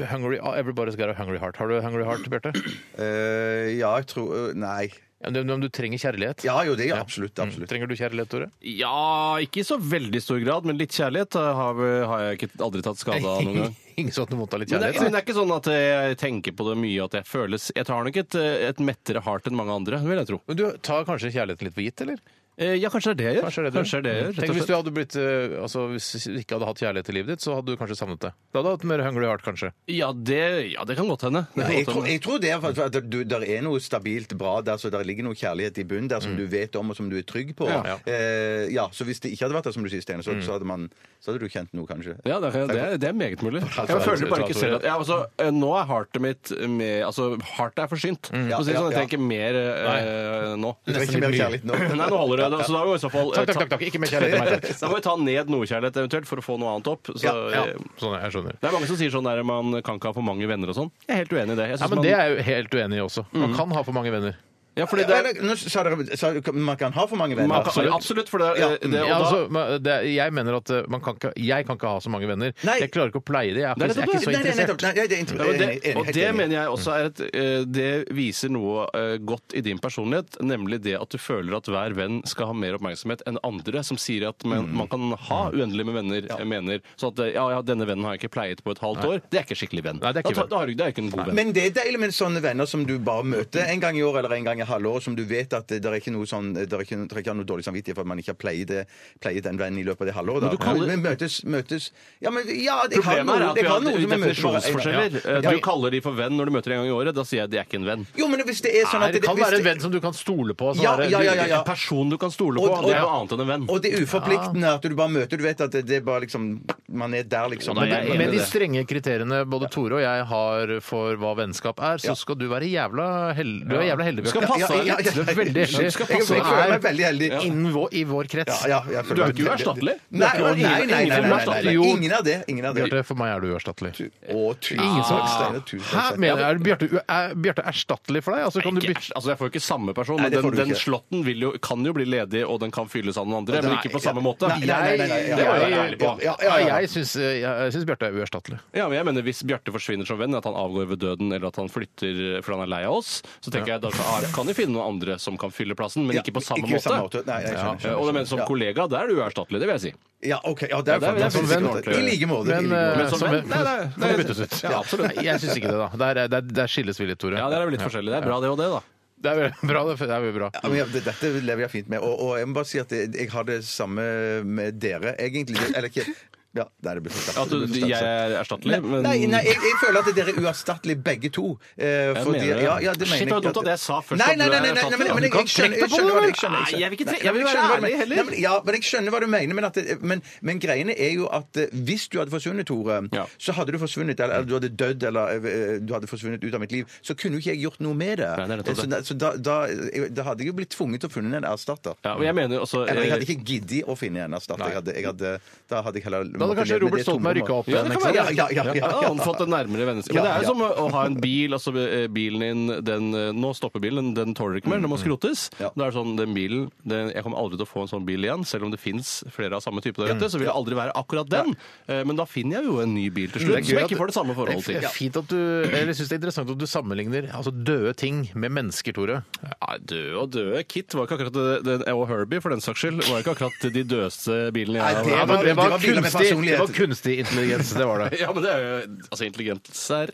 hungry, ah, everybody's got a hungry heart. Har du hungry heart, Bjarte? Eh, ja, jeg tror Nei. Ja, men Om du trenger kjærlighet? Mm, Ja, jo, det er absolutt. absolutt. Trenger du kjærlighet, Tore? Ja, ikke i så veldig stor grad, men litt kjærlighet eh, har, vi- har jeg ikke, aldri tatt skade av noen gang. Ingen sånn som har vondt av litt Men det, kjærlighet? men det er ikke sånn at jeg tenker på det mye at jeg føles Jeg tar nok et, eh, et mettere heart enn mange andre, vil jeg tro. Men du tar kanskje kjærligheten litt for gitt, eller? Eh, Ja, kanskje det er det jeg gjør. Kanskje er det du Kanskje er det jeg gjør, rett Tenk og hvis du slett. hadde blitt, eh, altså hvis du ikke hadde hatt kjærlighet i livet ditt, så hadde du kanskje savnet det. Da hadde du hatt mer hungry heart, kanskje. Ja, det, ja, det kan godt hende. Det kan Jeg godt tror, hende. jeg tror det er for at du, der er noe stabilt bra der, så der ligger noe kjærlighet i bunnen Mm. der som du vet om, og som du er trygg på. Ja. Eh, ja, så hvis det ikke hadde vært der, som du sier, Steinar, så, så, hadde man- så hadde du kjent noe, kanskje. Mm. Ja, det er, det, er, det er meget mulig. Jeg Tore. føler bare Ta, Tore. ikke selv at ja, altså, eh, Nå er heartet mitt med Altså, heartet er forsynt. For å si det Ja, sånn, jeg ja, trenger ikke mer eh, nå. Du trenger ikke mer kjærlighet nå. Nei, nå holder det. da, så da må vi i så fall Takk, eh, takk, ta- takk, takk. Ikke mer kjærlighet til meg. takk. Da må vi ta ned noe kjærlighet eventuelt for å få noe annet opp. Så, Ja, ja. eh, Sånn, jeg skjønner. Det er mange som sier sånn der man kan ikke ha for mange venner og sånn. Jeg er helt uenig i det. Jeg synes Ja, men man- Det er jeg jo helt uenig i også. Man kan ha for mange venner. ja, fordi det er, Eller, Nå sa dere sa dere- man kan ha for mange venner. man kan, absolutt, for det, er- Ja. det, Ja, og da- altså, men det, er- jeg mener at eh, man kan ikke, jeg kan ikke ha så mange venner. Nei. Jeg klarer ikke å pleie det. Jeg er, ikke- Det er jeg er ikke så Nei, nei, nettopp. interessert. Nei, nei, det er inter- Ja, men enig, det, enig, og helt det enig. mener jeg også er et eh, Det viser noe eh, godt i din personlighet, nemlig det at du føler at hver venn skal ha mer oppmerksomhet enn andre, som sier at man, Mm. man kan ha uendelig med venner, eh, mener sånn at eh, ja, ja, denne vennen har jeg ikke pleiet på et halvt år. Det er ikke skikkelig venn. Nei, det er ikke da, venn. da, har du, det er ikke en god venn. Men det er deilig med sånne venner som du bare møter en gang i år eller en gang i halvåret, som du vet at det er ikke noe sånn det er ikke, det er ikke noe dårlig samvittighet for at man ikke har pleiet, det- pleiet den vennen i løpet av det halvåret. Da. Men du kaller- Men møtes, møtes Ja, men ja, det kan Problemet er noe, at det vi kan noe har som er møtes bare- definisjonsforskjeller. Ja. Eh, Ja, Du kaller de for venn når du møter en gang i året. Da sier jeg det er ikke en venn. Jo, men hvis det er sånn Nei, at det kan hvis være en venn som du kan stole på. Sånn Ja, der- ja, ja, ja, ja. En person du kan stole på, Og- det er og- noe annet enn en venn. Og det er uforpliktende at du bare møter Du vet at det, det er bare liksom Man er der, liksom. Nei, jeg er enig Med i de det. strenge kriteriene både Tore og jeg har for hva vennskap er, så skal du være jævla heldig. Du er jævla heldig, Du skal Bjarte. passe deg litt. Du er veldig heldig. Du skal Jeg- jeg passe Som føler er meg veldig heldig. Ja. Innen vår, I vår krets. Ja, ja, jeg føler Du er ikke meg veldig- uerstattelig. Nei, Du er ikke- nei, nei, nei, nei, nei, nei, nei. Jo. Ingen av det. Ingen av det. Bjarte, for meg er du uerstattelig. Å, tusen Ingen Ah. som- takk, Steinar. Tusen Hæ, takk. mener jeg, er Bjarte, u- er Bjarte erstattelig for deg? Altså, kan du Ikke- bytte altså Jeg får jo ikke samme person, Nei, men det får den, du den ikke. slåtten vil jo, kan jo bli ledig, og den kan fylles av noen Nei, andre, men ikke på samme ja. måte. Nei, nei, nei, nei, ja, det var ja, jeg ja, ærlig på. ja, ja, ja. Nei, Jeg syns, jeg, jeg syns Bjarte er uerstattelig. Ja, men jeg mener Hvis Bjarte forsvinner som venn, at han avgår ved døden eller at han flytter fordi han er lei av oss, så tenker jeg da kan- ah, kan vi finne noen andre som kan fylle plassen, men Ja, ikke på samme ikke på måte. Eh, samme måte. Nei, jeg skjønner, skjønner, Og det mener som skjønner. kollega, da er du uerstattelig, det vil jeg si. Ja, OK. Ja, det er det er- det er fantastisk. som godt. venn. I like måte. Men, i like måte. eh, Men som som venn, venn- nei, nei, kan nei, det byttes ut. Ja, absolutt. Nei, jeg syns ikke det, da. Der, er- der, der skilles vi litt, Tore. Ja, der er vi litt forskjellige. Det er bra, det og det, da. Det er vel bra. Det det er vel bra. Ja, men ja, det- dette lever jeg fint med. Og, og jeg må bare si at jeg, jeg har det samme med dere, egentlig. Eller ikke ja, Nei, det blir for sterkt. At du, Det blir for sterkt. jeg er erstattelig, men Nei, nei jeg, jeg føler at dere er uerstattelige begge to. Eh, fordi, mener det. ja, ja, det Shit, mener det var dumt at jeg sa først nei, at nei, du nei, nei, nei, er nei, men, erstattet. men jeg, jeg, skjønner, jeg skjønner hva du jeg skjønner. Nei, jeg vil ikke tre- Nei, jeg vil men være skjønner hva du ærlig mener. heller. Nei, men, ja, men jeg skjønner hva du mener. Men, at det, men, men greiene er jo at eh, hvis du hadde forsvunnet, Tore, Ja. så hadde du forsvunnet, eller, eller du hadde dødd, eller eh, du hadde forsvunnet ut av mitt liv, så kunne jo ikke jeg gjort noe med det. Nei, det er nettopp så da, så da, da, jeg- da hadde jeg jo blitt tvunget til å finne en erstatter. Ja, og jeg mener jo også Eller jeg hadde eh, ikke giddet å finne en erstatter. Jeg hadde, jeg hadde, da hadde jeg heller Da hadde kanskje Robert Stoltenberg rykka opp Ja, igjen. det ikke kan sant? være. Ja, ja, ja, ja, Da har han fått en nærmere vennskap. Men Ja, det er ja. jo som å ha en bil, altså eh, bilen din, den, eh, nå stopper bilen, den tåler ikke mer, den må skrotes. Ja. Da er det sånn, den bilen, den, jeg kommer aldri til å få en sånn bil igjen, selv om det finnes flere av samme type der ute, så vil det aldri være akkurat den. Eh, Men da finner jeg jo en ny bil til Det er slutt, gøy som jeg at- ikke får det samme forholdet Det til. er fint at du, eller jeg synes det er interessant at du sammenligner altså døde ting med mennesker, Tore. Ja, døde og døde. Kit var ikke akkurat det, det, og Herbie, for den saks skyld, var ikke akkurat de dødeste Nei, bilene jeg har det Ja, var- men det, det var var bilder med kunstig, det personlighet. var kunstig intelligens, det var det. Ja, men det er jo Altså, intelligens er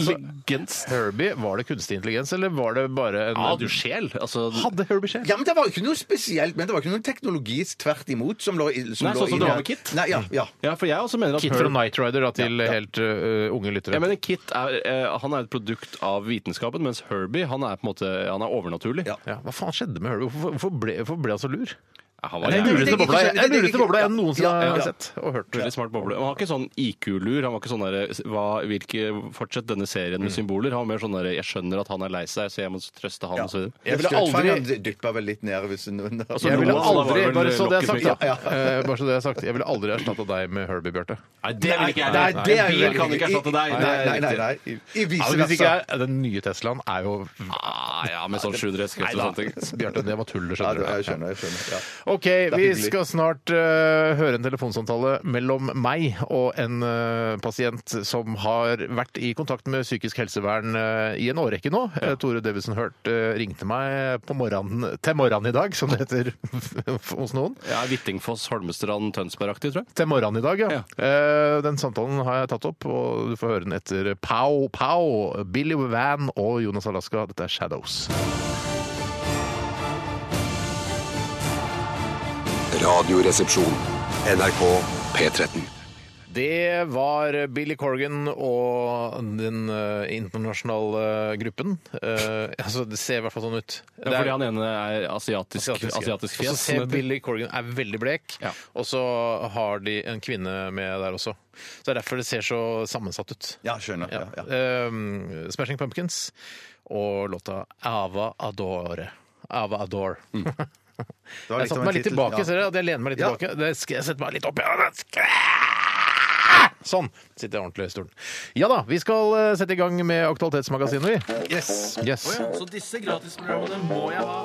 intelligens. Herbie, var det kunstig intelligens, eller var det bare en ja, du sjel. Altså, Hadde Herbie sjel? Ja, men Det var jo ikke noe spesielt, men det var ikke noe teknologi tvert imot som lå, i- som Nei, lå sånn som i det det. var med Kit. Nei, ja, ja. ja, for jeg også mener at Kid Herb- fra Night Rider da, til helt ø, unge lyttere. Jeg mener Kit er, eh, han er et produkt av vitenskapen, mens Herbie han er på en måte, han er overnaturlig. Ja. ja, hva faen skjedde med Herbie? Hvorfor, hvorfor, ble, hvorfor ble han så lur? Ja, Han Det var er den jævlig det- det- lureste det- bobla jeg, det- det- den lureste bobla jeg noensinne Ja, ja, har ja. sett og hørt. veldig smart boble. Men Han har ikke sånn IQ-lur. Han var ikke sånn der, hva, hvilke, Fortsett denne serien med symboler. Han var mer sånn der, jeg skjønner at han er lei seg, så jeg må trøste han. og så videre. Jeg ville Støtfangeren aldri- Altså, dyppa vel litt ned hvis noen Så Jeg ville noe av det var aldri vel bare så det er sagt, lokkesmykke. da. Eh, Bare så det er sagt. Jeg ville aldri erstatta deg med Herbie, Bjarte. Nei, det vil ikke jeg. Nei, Nei, det er bil jo- kan ikke erstatte deg. Nei, Det er nei, nei. riktig. nei. I- I Ja, vice Altså, hvis ikke versa. jeg, den nye Teslaen er jo Ah, ja, med sånn 700 hestekreft og sånne ting. Bjarte, det var tull, det Ja, skjønner det- du. jeg skjønner. jeg skjønner ja. OK, vi hyggelig. skal snart eh, høre en telefonsamtale mellom meg og en eh, pasient som har vært i kontakt med psykisk helsevern eh, i en årrekke nå. Eh, Tore Davidsen Hurt eh, ringte meg på morgenen, til morgenen i dag, som det heter hos noen. Ja, Hvittingfoss, Holmestrand, Tønsberg-aktig, tror jeg. Til morgenen i dag, ja. Eh, den samtalen har jeg tatt opp, og du får høre den etter Pow Pow, Billy Van og Jonas Alaska. Dette er Shadows. Radioresepsjon. NRK P13. Det var Billy Corgan og den eh, internasjonale eh, gruppen. Eh, altså, det ser i hvert fall sånn ut. Ja, fordi han ene er asiatisk, asiatisk, asiatisk, fjes. Og så som ser heter. Billy Corgan er veldig blek, Ja. og så har de en kvinne med der også. Så det er derfor det ser så sammensatt ut. ja, skjønner. Ja, ja. Eh, Smashing Mm. Pumpkins og låta Ava Adore. Ava Adore. Det var Jeg litt av satte liksom en meg litt tittel, tilbake, ja. ser dere? At jeg lener meg litt Ja. tilbake. Det skal jeg sette meg litt opp ja. Skræ! Sånn sitter jeg ordentlig i stolen. Ja da, vi skal eh, sette i gang med Aktualitetsmagasinet, vi. Yes. Yes. Så disse gratisprogrammene må jeg ha.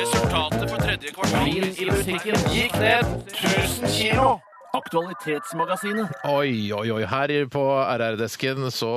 Resultatet for tredje kvartal i butikken gikk ned 1000 kilo. Aktualitetsmagasinet. Oi, oi, oi. Her på RR-desken så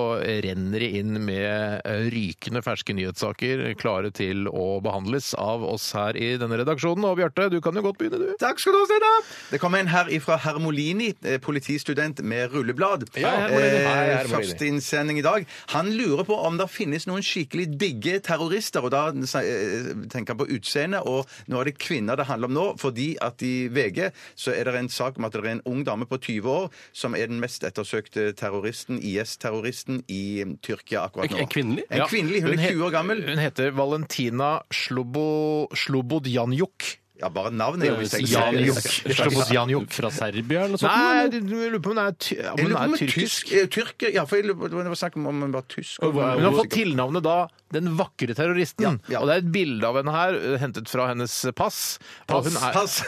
renner det inn med eh, rykende ferske nyhetssaker klare til å behandles av oss her i denne redaksjonen. Og Bjarte, du kan jo godt begynne, du. Takk skal du ha, Steinar. Det kom en her ifra Hermolini, eh, politistudent med rulleblad. Ja, Hermolini. Hei, Eh, Hermolini. Første innsending i dag. Han lurer på om det finnes noen skikkelig digge terrorister, og da eh, tenker han på utseende, og nå er det kvinner det handler om nå, fordi at i VG så er det en sak om at det er en ung dame på 20 år som er den mest ettersøkte terroristen, IS-terroristen, i mm, Tyrkia akkurat nå. En- en kvinnelig? En kvinnelig, Hun Ja, er he- 20 år gammel. Hun heter Valentina Slobo, Slobodjanjuk. Ja, bare navnet er jo visst Slobodjanjuk. Fra Serbia eller noe sånt? Nei, eller? jeg lurer på om hun er, ty om hun Jeg lurer på om er hun er tyrkisk. tysk. eh, Tyrker, ja, for jeg lurer på det var snakk om om hun var tysk. Og hva er Hun har fått tilnavnet da 'Den vakre terroristen'. Ja, ja. Og det er et bilde av henne her eh, hentet fra hennes pass. Og hun er, Pass!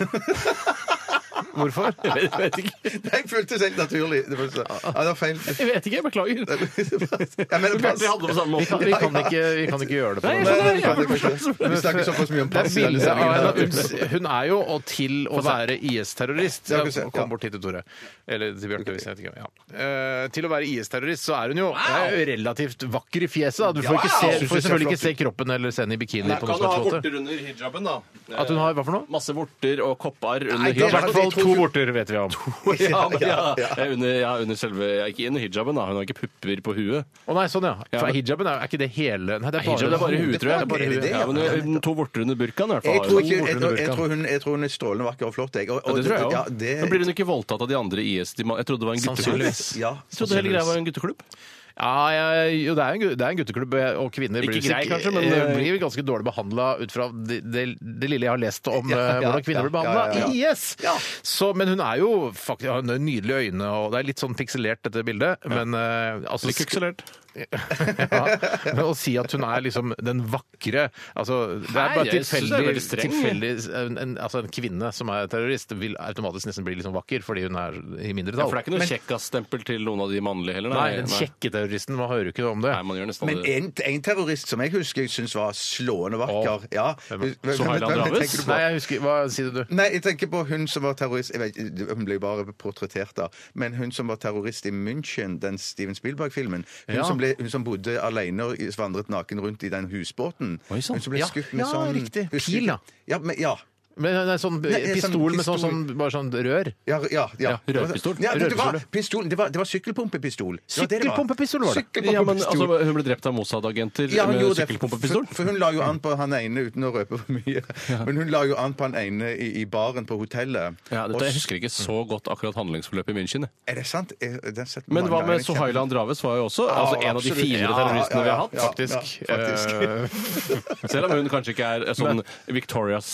Hvorfor? Jeg vet ikke. Jeg følte det helt naturlig. Det var så- Ja, det var feil. Jeg vet ikke, jeg beklager. Jeg mener pass. Bjarte hadde det på samme Vi måte. kan, vi kan, ikke, vi kan ikke gjøre det på Nei, jeg den Nei, måten. nei, nei, det kan ikke. Vi snakker såpass mye om Det er pass. i denne bilde av sendingen. henne. Hun, hun er jo og til å være IS-terrorist. Ja, vi ser, ja. Kom bort hit til Tore. Eller til Bjarte, hvis jeg vet ikke. Ja. Eh, til å være IS-terrorist så er hun jo er jo relativt vakker i fjeset. da. Du får, ikke se, Wow! du får selvfølgelig ikke se kroppen eller se henne i bikini på noen slags måte. under hijaben, da. At hun har hva for noe? Masse vorter og kopper under det I er hijaben. hvert fall to vorter vet vi om. Ja, men, ja. Ja, Eh, Under, ja, under selve ja, Ikke under hijaben, da. Hun har ikke pupper på huet. Å nei, sånn ja. Ja, For men- hijaben er, er ikke det hele Nei, det er bare, Hijab det er bare huet, tror jeg. Det er bare huet, ja. ja, men eh, To vorter under burkaen, i hvert Jeg fall. tror, har hun. ikke, jeg, tror, jeg, tror hun, jeg tror hun er strålende vakker og flott. Jeg. Og, og, Ja, det tror jeg ja, òg. det- Men blir hun ikke voldtatt av de andre IS? De, man- jeg trodde det var en gutteklubb. Sannsynligvis. Ja. Jeg trodde hele greia var en gutteklubb. Ja, jeg- jo, det er, en, gu- det er en gutteklubb, eh, og kvinner blir, Ikke grei, sikkert- kanskje, men- eh, blir ganske dårlig behandla ut fra det, det, det lille jeg har lest om eh, ja, hvordan kvinner ja, blir behandla ja, ja, i ja. IS. Så, men hun er jo faktisk har nydelige øyne, og det er litt sånn pikselert, dette bildet. Men eh, altså Litt kukselert. ja, men å si at hun er liksom den vakre altså, Det er Nei, bare jeg synes det er tilfeldig, veldig streng. tilfeldig en, en, altså, en kvinne som er terrorist, vil automatisk nesten bli litt sånn vakker fordi hun er i Ja, mindretall. for det er ikke noe kjekkastempel til noen av de mannlige heller. Nei, den kjekke terroristen, man hører jo ikke om det. Nei, man gjør nesten Men aldri det. en, en terrorist som jeg husker jeg syns var slående Åh. vakker ja. Hvem er- Hvem- Så hvem- Hailand hvem Draves? tenker du på? Nei, jeg husker, hva sier du? Nei, jeg tenker på hun som var terrorist jeg vet, ikke, Hun ble jo bare portrettert da. Men hun som var terrorist i München, den Steven Spielberg-filmen. Hun, Ja. som ble- hun som bodde alene og vandret naken rundt i den husbåten. Oi, sant. Hun som ble Ja. skutt med Ja, sånn riktig. husker Pil, du- da. Ja, men, ja. Men det er sånn Nei, sånn pistol med sånn, pistol. sånn, bare sånn rør. Ja, ja, ja. Ja, rørpistol. Ja, det, det, var, Rørpistol, pistol, det, var, det var sykkelpumpepistol. Det var det det var. Sykkelpumpepistol var det. Ja, men altså, Sykkelpumpepistol. Hun ble drept av Mossad-agenter Ja, hun med gjorde det. sykkelpumpepistol. For, for hun la jo an på han ene, uten å røpe for mye, men hun la jo an på han ene i, i baren på hotellet. Ja, Og dette, s- jeg husker ikke så godt akkurat handlingsforløpet i München. jeg. Er det sant? Er, den setter Men mange hva ganger. med Sohaila Andraves var jo også altså, en av de absolutt. finere Ja, terroristene ja, vi ja, har hatt. ja, faktisk. ja, faktisk. Eh, Selv om hun kanskje ikke er eh, sånn Victoria's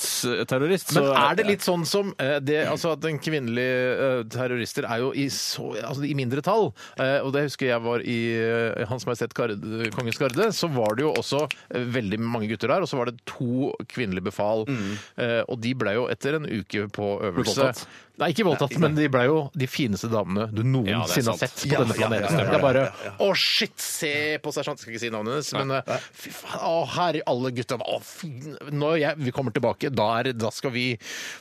Secrets-terrorist. Men er det litt sånn som eh, det, Mm. altså at den kvinnelige eh, terrorister er jo i, så, altså i mindre tall? Eh, og det husker jeg var i eh, Hans Majestet Garde, Kongens Garde, så var det jo også eh, veldig mange gutter der, og så var det to kvinnelige befal. Mm. Eh, og de ble jo etter en uke på øvelse voldtatt? Nei, ikke voldtatt, men de ble jo de fineste damene du Ja, det er noensinne har sant. sett på Ja, denne ja, ja, planeten. ja, ja, Det er bare ja, ja, Å, shit, se på sersjant. Skal ikke si navnet hennes, men eh, fy faen, å, herre alle guttene. Å, fy, når jeg, vi kommer tilbake, da, er, da, skal vi,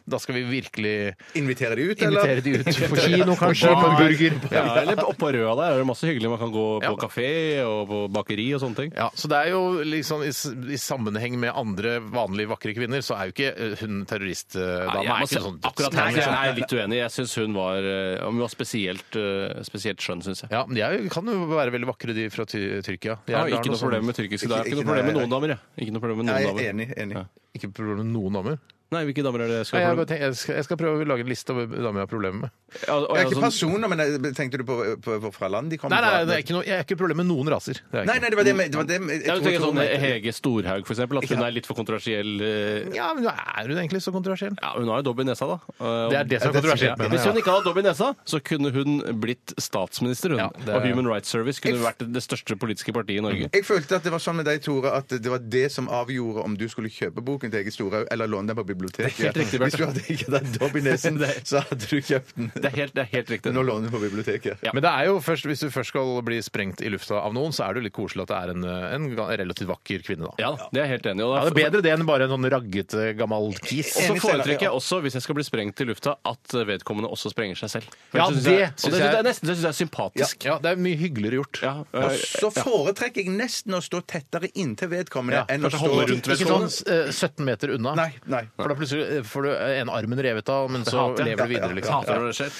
da skal vi virkelig Invitere de ut, invitere de ut på kino, kanskje, på en burger. Ja, eller oppå Røa der er det masse hyggelig. Man kan gå på Ja. kafé og på bakeri og sånne ting. Ja, så det er jo liksom i, s- i sammenheng med andre vanlige vakre kvinner, så er jo ikke eh, hun terroristdama. jeg er må ikke si- sånn akkurat dødsdame, her er jeg liksom. er jeg litt uenig. Jeg syns hun var, eh, hun var spesielt, eh, spesielt skjønn, syns jeg. Ja, men de er jo- kan jo være veldig vakre, de fra ty Tyrkia. De Jeg er- har det er ikke noe sånn- problem med tyrkiske Ikke- damer. Ikke ikke noe problem med nei, noen damer, jeg. Ikke noe problem med Nei, noen jeg er damer. enig. enig. Ja. Ikke problem med noen damer. Nei, hvilke damer er det jeg Nei, skal jeg, bare tenker, jeg, skal, jeg skal prøve å lage en liste over damer jeg har problemer med. Ja, og Det jeg er ikke sånn- personer, men eh, tenkte du på, på, på fra land de kommer Nei, nei, fra? det er ikke noe, jeg har ikke problemer med noen raser. Det er jeg Nei, ikke. nei, det var det med, det var det med jeg Ja, du tror- tenker tror- sånn Hege Storhaug, for eksempel, at hun er litt for kontroversiell. eh, Ja, men er hun egentlig så kontroversiell? Ja, Hun har jo dobb i nesa, da. Eh, Det er det som er det er kontroversielt med Hvis hun henne. ikke hadde dobb i nesa, så kunne hun blitt statsminister. Hun. Ja, det- Og Human Rights Service kunne vært det største politiske partiet i Norge. Jeg følte at det var sånn med deg, Tore, at det var det som avgjorde om du skulle kjøpe boken til Hege Storhaug eller låne den på biblioteket. Det er helt riktig, Bjarte. Hvis du hadde ikke den dobb i nesen, så hadde du kjøpt den. Det er helt, det er helt riktig. Nå låner den på biblioteket. Ja. Men det er jo først, hvis du først skal bli sprengt i lufta av noen, så er det jo litt koselig at det er en, en ga- relativt vakker kvinne, da. Ja, det er jeg helt enig. i, Og Ja, det er bedre det enn bare en sånn raggete, gammel kis. Og så Enig, Steinar, foretrekker ja. jeg også, hvis jeg skal bli sprengt i lufta, at vedkommende også sprenger seg selv. For Ja, synes det jeg, synes og det, jeg- det er nesten det synes jeg er sympatisk. Ja, det er mye hyggeligere gjort. Ja, Og eh, så foretrekker jeg nesten å stå tettere inntil vedkommende Ja, enn å kanskje stå holde rundt Ikke sånn eh, 17 meter unna. Nei, nei. For da plutselig eh, får du eh, en armen revet av, men så hater jeg. lever du videre, liksom. hater når det skjer.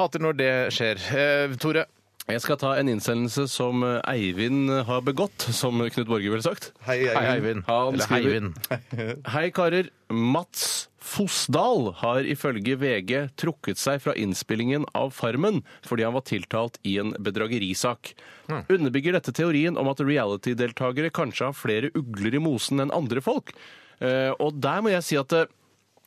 Hater når det skjer. Eh, Tore, Jeg skal ta en innsendelse som eh, Eivind har begått, som Knut Borge ville sagt. Hei, Eivind. hei, Eivind. Han Eller skriver- Heivind. Hei, karer. Mats Fossdal har ifølge VG trukket seg fra innspillingen av Farmen fordi han var tiltalt i en bedragerisak. Underbygger dette teorien om at reality-deltakere kanskje har flere ugler i mosen enn andre folk? Eh, og der må jeg si at eh,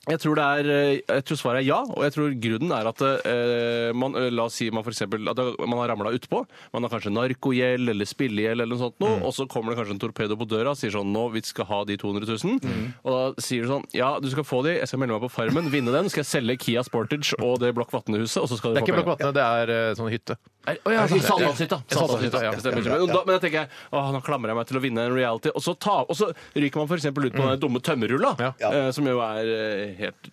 jeg tror, det er, eh, jeg tror svaret er ja, og jeg tror grunnen er at eh, man, eh, la oss si man for eksempel, at man har ramla utpå. Man har kanskje narkogjeld eller spillegjeld eller noe sånt, Mm. noe, og så kommer det kanskje en torpedo på døra og sier sånn nå, vi skal ha de 200 000. Mm. Og da sier du sånn ja, du skal få de, jeg skal melde meg på Farmen, vinne den, skal jeg selge Kia Sportage og det Blokk Vatne-huset, og så skal du Det er ikke få Blokk Vatne, det er eh, sånn hytte. Er- Å ja, altså, Saltdalshytta. Saltdalshytta, ja. Det stemmer. Men, da, men jeg tenker å, nå klamrer jeg meg til å vinne en reality, og så, ta, og så ryker man f.eks. ut på den dumme tømmerrulla, Ja. eh, som jo er eh, helt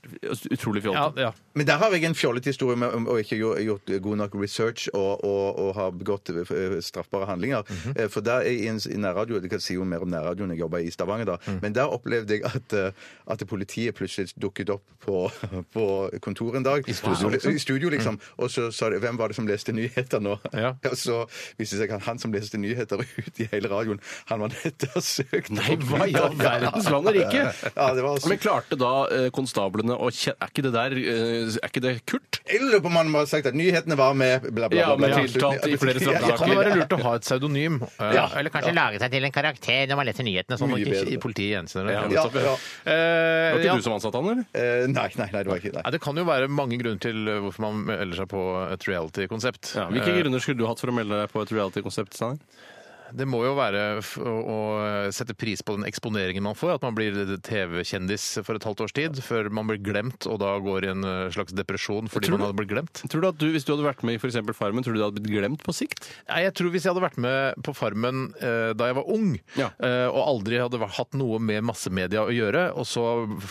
utrolig fjollete. Ja, ja. Men der har jeg en fjollete historie med om å ikke ha gjort god nok research og, og, og ha begått eh, straffbare handlinger. Mhm. Eh, For der i, en- i nærradio, jeg kan si jo mer om nærradioen jeg jobba i Stavanger da, Mm. men der opplevde jeg at, eh, at politiet plutselig dukket opp på, på kontoret en dag. I studio, liksom? I studio, liksom. Mm. Og så sa de hvem var det som leste nyheter nå? Ja. Og så viste det seg at han som leste nyheter ut i hele radioen, han var ettersøkt. Nei, hva i all verdens land og rike? Ja, det var Men klarte da eh, konstablene å kjenne Er ikke det der eh, Er ikke det Kurt? Jeg lurer på om han må ha sagt at nyhetene var med bla, bla, bla. Ja, men bla. tiltalt i flere Ja, Da kan det straffesaker. være lurt å ha et pseudonym. eh, Ja. Eller kanskje lage seg til en karakter når man leser nyhetene, sånn at Mye ikke bedre. politiet gjenkjenner Ja, det. Ja, nettopp, ja. Eh, ja. Var ikke du som ansatte han, eller? Eh, nei, nei, nei, det var ikke Nei, det. det kan jo være mange grunner til eh, hvorfor man melder seg på et reality-konsept. Ja, hvilke Eh, grunner skulle du hatt for å melde deg på et reality-konsept? Steinar? Det må jo være f å, å sette pris på den eksponeringen man får, at man blir TV-kjendis for et halvt års tid, før man blir glemt og da går i en eh, slags depresjon fordi Tror du- man hadde blitt glemt. Tror du at du, Hvis du hadde vært med i for eksempel Farmen, tror du du hadde blitt glemt på sikt? Nei, jeg tror Hvis jeg hadde vært med på Farmen eh, da jeg var ung, Ja. eh, og aldri hadde vært- hatt noe med massemedia å gjøre, og så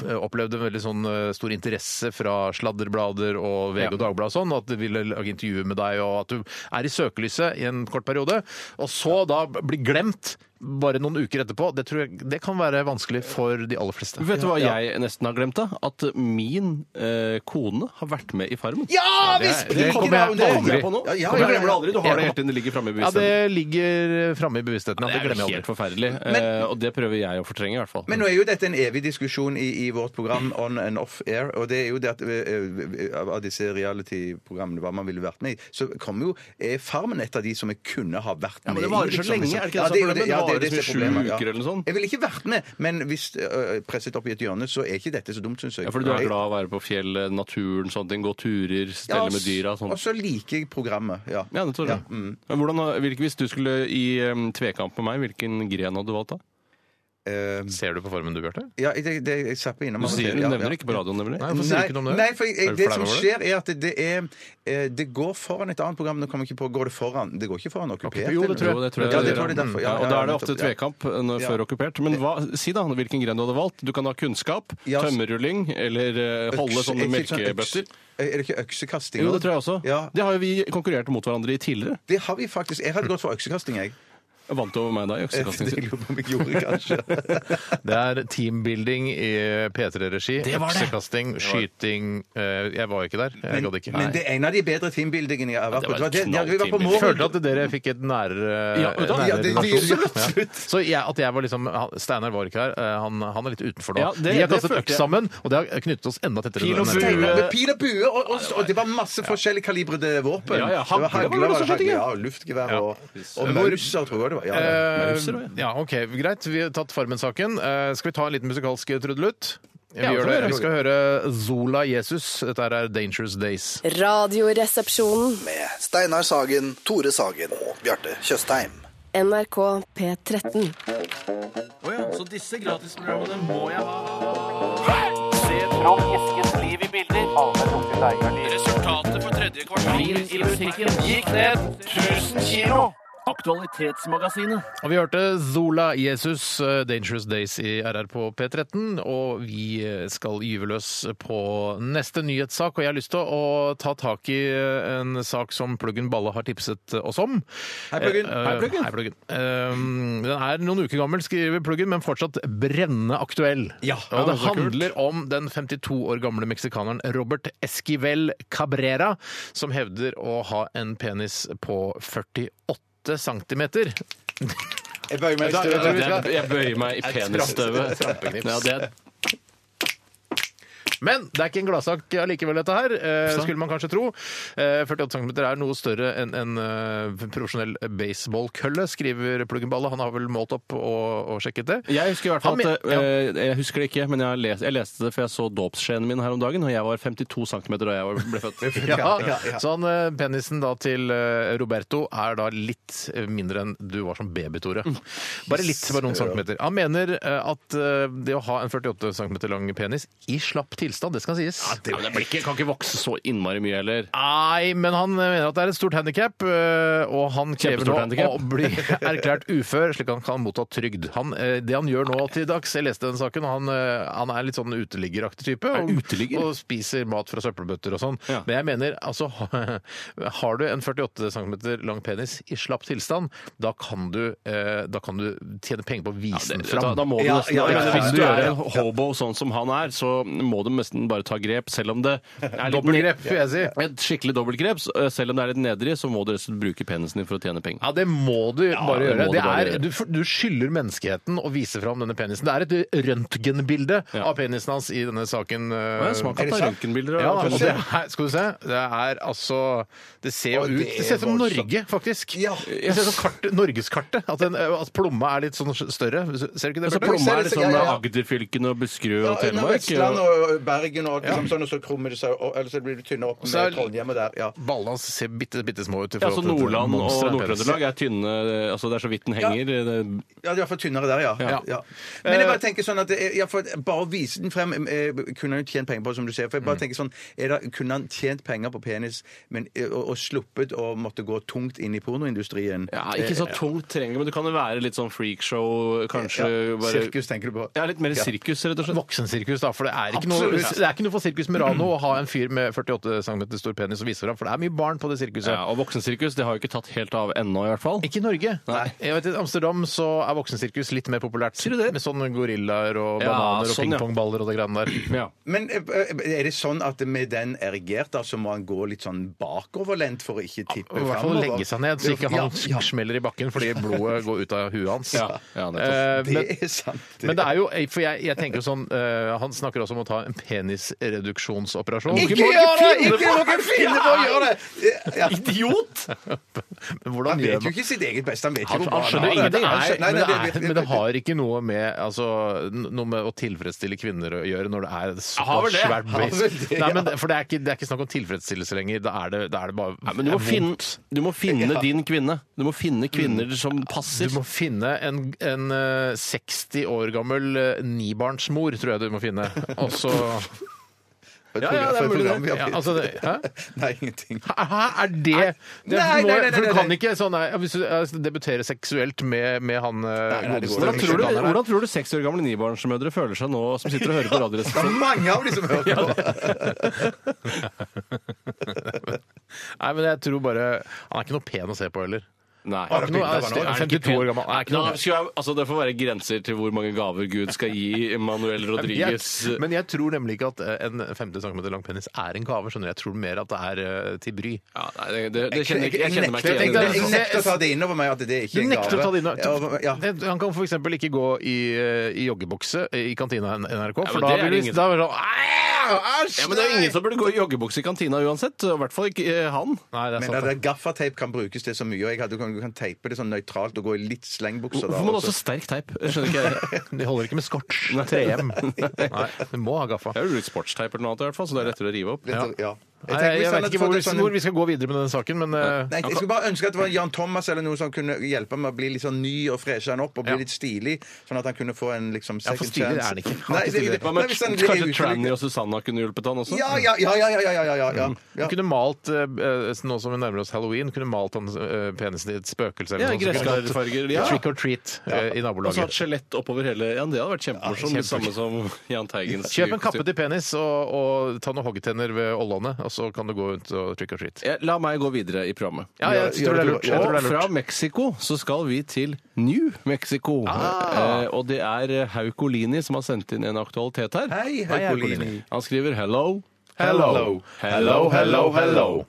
eh, opplevde en veldig sånn eh, stor interesse fra sladderblader og VG og Ja. Dagbladet og sånn, at de ville lage intervju med deg, og at du er i søkelyset i en kort periode, og så da bli glemt bare noen uker etterpå, det, tror jeg, det kan være vanskelig for de aller fleste. Vet du hva Ja. jeg nesten har glemt? da? At min eh, kone har vært med i Farmen. Ja, vi det springer kommer jeg navnet! Det kommer jeg på aldri. nå. Ja, ja, Jeg ja, ja. glemmer det aldri. Du har det helt til det ligger framme i Ja, bevisstheten. det ligger eh, framme i bevisstheten. Ja, det er glemmer jeg aldri. helt forferdelig, eh, og det prøver jeg å fortrenge. i hvert fall. Men nå er jo dette en evig diskusjon i, i vårt program On and Off Air, og det er jo det at eh, eh, av disse reality-programmene, hva man ville vært med i, så kommer jo eh, Farmen et av de som jeg kunne ha vært med i. men det varer så liksom. lenge, er det ikke det Ja, jo som er problemet? Det ja, varer det som som er i sju problemet, ja. uker eller noe sånt. Jeg ville ikke vært med, men hvis eh, presset opp i et hjørne, så er ikke dette så dumt, syns jeg. Ja, fordi du er Jeg- glad i å være på fjellet, naturen, sånne ting, gå turer, Ja, stelle med dyra. Sånn. Og så liker jeg programmet, ja. mm. Ja, det tror jeg. Men hvordan, hvilke, hvis du skulle i em, tvekamp med meg, hvilken gren hadde du valgt da? Eh, Ser du på Farmen du, Bjarte? ja, det, det, jeg zapper innom. Du av og sier, til, du ja, ja. nevner ikke på radioen, nemlig. Nei, hvorfor sier du ikke noe om det? Nei, for jeg, Er du det flau som over det? skjer er at det, det er eh, Det går foran et annet program. Nå kommer jeg ikke på Går det foran? Det går ikke foran okkupert? Jo, det tror jeg. Jo, Ja, det tror jeg derfor. Ja, Ja, og ja, ja, da er det ofte nettopp, ja. tvekamp eh, når- Ja. før okkupert. Men hva, si da hvilken gren du hadde valgt. Du kan ha kunnskap, Ja, s- tømmerrulling eller eh, holde Øks- sånne er ikke sånn melkebøtter. øks- Er det ikke øksekasting? Jo, også? det tror jeg også. Ja, Det har jo vi konkurrert mot hverandre i tidligere. det har vi faktisk. Jeg hadde gått for øksekasting, jeg. Vant du over meg da i øksekasting? Det lurer på om jeg gjorde, kanskje. Det er teambuilding i P3-regi. Øksekasting, skyting eh, Jeg var ikke der. Jeg gadd ikke. Men det er en av de bedre teambuildingene jeg har vært på. Det var det, ja, vi var på Jeg følte at Mårud. dere fikk et nærere Ja, men da- nærere Ja, det- det- relasjon. absolutt. Ja. Så jeg, at jeg var liksom han- Steinar var ikke her. eh, Han, han er litt utenfor nå. Ja, det- Vi har det kastet følte øks jeg. sammen, og det har knyttet oss enda tettere Pil og enn- bue. Med pil og bue, og, og, og det var masse forskjellige kalibrede våpen. Ja, ja, Det var hagle var det hagler, også, skjønte jeg. ja, luftgevær og, eh, og Hvor- mauser, tror jeg det var. Ja, ja. Mauser, Eh, ja. ja, OK. Greit, vi har tatt Farmen-saken. Eh, skal vi ta en liten musikalsk trudelutt? Vi, Ja, gjør det kan vi det. gjøre. vi skal høre Zola Jesus. Dette er Dangerous Days. Radioresepsjonen. med Steinar Sagen, Tore Sagen og Bjarte Tjøstheim. NRK P13. Så disse gratisprogrammene må jeg ha. Resultatet på tredje kvartal i musikken gikk ned 1000 kilo. Aktualitetsmagasinet. Og vi hørte Zola Jesus, eh, Dangerous Days i RR på P13. Og vi eh, skal gyve løs på neste nyhetssak. Og jeg har lyst til å ta tak i eh, en sak som Pluggen Balle har tipset oss om. Hei, Pluggen. eh, Hei, Pluggen. Eh, Den er noen uker gammel, skriver Pluggen, men fortsatt brennende aktuell. Ja. og det så kult. handler handler om den 52 år gamle meksikaneren Robert Esquivel Cabrera, som hevder å ha en penis på 48 centimeter. Jeg bøyer meg i Da- støvet. da- Det er- Jeg bøyer meg i penisstøvet. Trampeknips. Ja, det er Men det er ikke en gladsak allikevel, dette her, eh, skulle man kanskje tro. Eh, 48 cm er noe større enn en eh, profesjonell baseballkølle, skriver Pluggenballe. Han har vel målt opp og, og sjekket det. Jeg husker i hvert fall Han at, men- ja. eh, jeg husker det ikke, men jeg, har lest, jeg leste det for jeg så dåpsskjeen min her om dagen, og jeg var 52 cm da jeg var- ble født. Ja, Så han, eh, penisen da til eh, Roberto er da litt eh, mindre enn du var som baby, Tore. Mm. Bare litt, bare noen centimeter. Han mener eh, at eh, det å ha en 48 cm lang penis i slapp tilstand, det skal sies. Ja, men det blir ikke, kan ikke vokse så innmari mye heller. Nei, men han mener at det er et stort handikap, og han krever Kjempestort nå handicap. å bli erklært ufør, slik at han kan motta trygd. Han, eh, det han gjør nå til dags, jeg leste den saken, og han, eh, han er litt sånn uteliggeraktig type. Er Og, uteligger? og spiser mat fra søppelbøtter og sånn. Ja. Men jeg mener, altså, har du en 48 cm lang penis i slapp tilstand, da kan du, eh, da kan du tjene penger på å vise den Da, fram. da må du Ja, nesten, ja, ja, men ja, Hvis ja, du ja, er ja. en hobo sånn som han er, så må du nesten bare ta grep, selv om det er litt- Dobbeltgrep, vil jeg si. Et skikkelig dobbeltgrep. så, eh, Selv om det er litt nedrig, så må du resten bruke penisen din for å tjene penger. Ja, det må du bare det gjøre. må du Det bare er, gjøre. du, for- du skylder menneskeheten å vise fram denne penisen. Det er et røntgenbilde Ja. av penisen hans i denne saken. eh. Ja, jeg smaker Er det på sant? røntgenbilder. Ja, og- og det er, skal du se. Det er altså Det ser jo Å, ut det Det ser ut som er voldsomt. Norge, faktisk. Ja. Det ser ut som kartet, Norgeskartet. At, den- at plomma er litt sånn større. Ser du ikke det? Så Bjarte? plomma er det- liksom ja, ja, ja. Agderfylkene og Buskerud Ja, og nei, Telemark. Vestland og- og Bergen og liksom sånn, og så krummer det seg, og, eller så blir det tynnere opp så er- med Trondheim og der. Ja. Ballene hans ser bitte, bitte små ut. i Ja, forhold så til dette Nordland og monsteret av penis. Nord-Trøndelag er tynne eh, altså Det er så vidt den henger. Det- Ja, det er iallfall tynnere der, ja. Ja. ja. Men Eh, jeg bare tenker sånn at det er- ja, for Bare å vise den frem eh, kunne han jo tjent penger på, det, som du sier. For jeg bare tenker sånn er det, Kunne han tjent penger på penis men, eh, og, og sluppet å måtte gå tungt inn i pornoindustrien? Ja, ikke så tungt trenger, men du kan jo være litt sånn freakshow, kanskje. Ja, bare- Sirkus, tenker du på? Ja, litt mer sirkus, rett og slett. Voksensirkus, da. For det er ikke, noe, Absolutt. det er ikke noe for Sirkus Murano å ha en fyr med 48 cm stor penis og vise fram, for det er mye barn på det sirkuset. Ja, og voksensirkus det har jo ikke tatt helt av ennå, i hvert fall. Ikke i Norge. Nei. Jeg vet, I Amsterdam så er voksensirkus litt mer populært. du det? Med sånne gorillaer og Ja, bananer og sånn, ja. pingpongballer og det greiene der. Ja. Men eh, er det sånn at med den erigert, da, så må han gå litt sånn bakoverlent for å ikke tippe Og I hvert altså. fall legge seg ned, så ikke han smeller i bakken fordi blodet går ut av huet hans. Ja. Ja, nettopp. Eh, men, Det er sant. men det er jo For jeg, jeg tenker jo sånn eh, Han snakker også om å ta en penisreduksjonisreduksjonsoperasjon. Ikke gjør det! Ikke må dere finne på å gjøre det! Ja. Idiot! Men Hvordan Han gjør vet man jo ikke sitt eget beste. Han vet jo Han, ikke han hva skjønner jo har. ingenting. Han Nei, skjønner- Nei, men, nei, det vet- er, men det har ikke noe med, altså, n- noe med å tilfredsstille kvinner å gjøre når det er et Har såpass vel det. svært Har base. vel det, Nei, ja. men det, for det er, ikke, det er ikke snakk om tilfredsstillelse lenger. Da er det, da er det bare Nei, men du må, vondt. finne, du må finne din kvinne. Du må finne kvinner som passer. Du må finne en, en eh, 60 år gammel eh, nibarnsmor, tror jeg du må finne. Og så Ja, ja, det er mulig, det. ja, altså, det- Hæ? Nei, ingenting. Hæ, er det, det Nei, for nå- nei, nei, nei, For du kan nei. ikke sånn nei, Hvis du eh, debuterer seksuelt med, med han eh, nei, det godeste går Hvordan tror, du, Alexander der. hvordan tror du seks år gamle nibarnsmødre føler seg nå som sitter og hører på Det er Radioresepsjonen? mange av de som hører på. Nei, men jeg tror bare Han er ikke noe pen å se på heller. Nei. Var det Nå bilde er av han Sten også? 52 år gammel. Er ikke Da noe skulle jeg, altså det får være grenser til hvor mange gaver Gud skal gi Manuel jeg, Rodriguez. men jeg tror nemlig ikke at eh, en 50 cm lang penis er en gave. skjønner du. Jeg tror mer at det er eh, til bry. Ja, nei, det, det, det kjenner jeg ikke, jeg kjenner meg nekter- ikke igjen i Jeg det. nekter å ta det innover meg at det er Du ikke en gave. nekter å ta det inn. Ja, ja. Det- Han kan f.eks. ikke gå i, eh, i joggebukse i kantina i NRK, for Ja, men da det er blir det det ingen- da er det sånn "Æ, æsj, Ja, men det er jo nei!" ingen som burde gå i joggebukse i kantina uansett. og I hvert fall ikke eh, Nei, han. det er Men sant. det det. der gaffateip kan brukes til så mye, og jeg hadde, du, kan, du kan teipe det sånn nøytralt og gå i litt slengbukser. da Hvorfor må du også. også sterk teip? Jeg skjønner ikke. De holder ikke med scotch Nei. 3M. Nei, du må ha gaffa. Det er jo litt sportsteip eller noe annet, i hvert fall, så det er lettere å rive opp. Litt- ja. Nei, tenker jeg, hvis han vet hadde ikke fått hvor, en sånn- hvor vi skal gå videre med denne saken, men eh, Nei, jeg skulle bare ønske at det var Jan Thomas eller noe som kunne hjelpe med å bli litt sånn ny og freshe han opp og bli Ja. litt stilig, sånn at han kunne få en liksom Ja, for second stilig chance. er han ikke. Han er ikke Nei, det- stilig. det- Hva nei, med hvis han- Kanskje jeg- Tranny sånn. og Susanna kunne hjulpet han også? Ja, ja, ja, ja, ja, ja, ja, ja, ja. ja. du Mm. kunne malt, eh, eh, nå som vi nærmer oss halloween, kunne malt han eh, penisen i et spøkelse Ja, eller noe sånt. Så kunne gresskarfarger. det- Ja. Altså, Trick or treat eh, i Og så nabolaget. hatt skjelett oppover hele Ja, det hadde vært kjempemorsomt. det samme som Jahn Teigens Kjøp en kappe til penis og, og ta noen hoggtenner ved ollåne, og så kan du gå rundt og trick or treat. Ja, La meg gå videre i programmet. Ja, jeg tror det er lurt. Jeg tror Og det er lurt. fra Mexico så skal vi til New Mexico. Ah. Eh, og det er Haukolini som har sendt inn en aktualitet her. Hei, Haukolini. Han skriver 'hello'. Hello. Hello, hello, hello.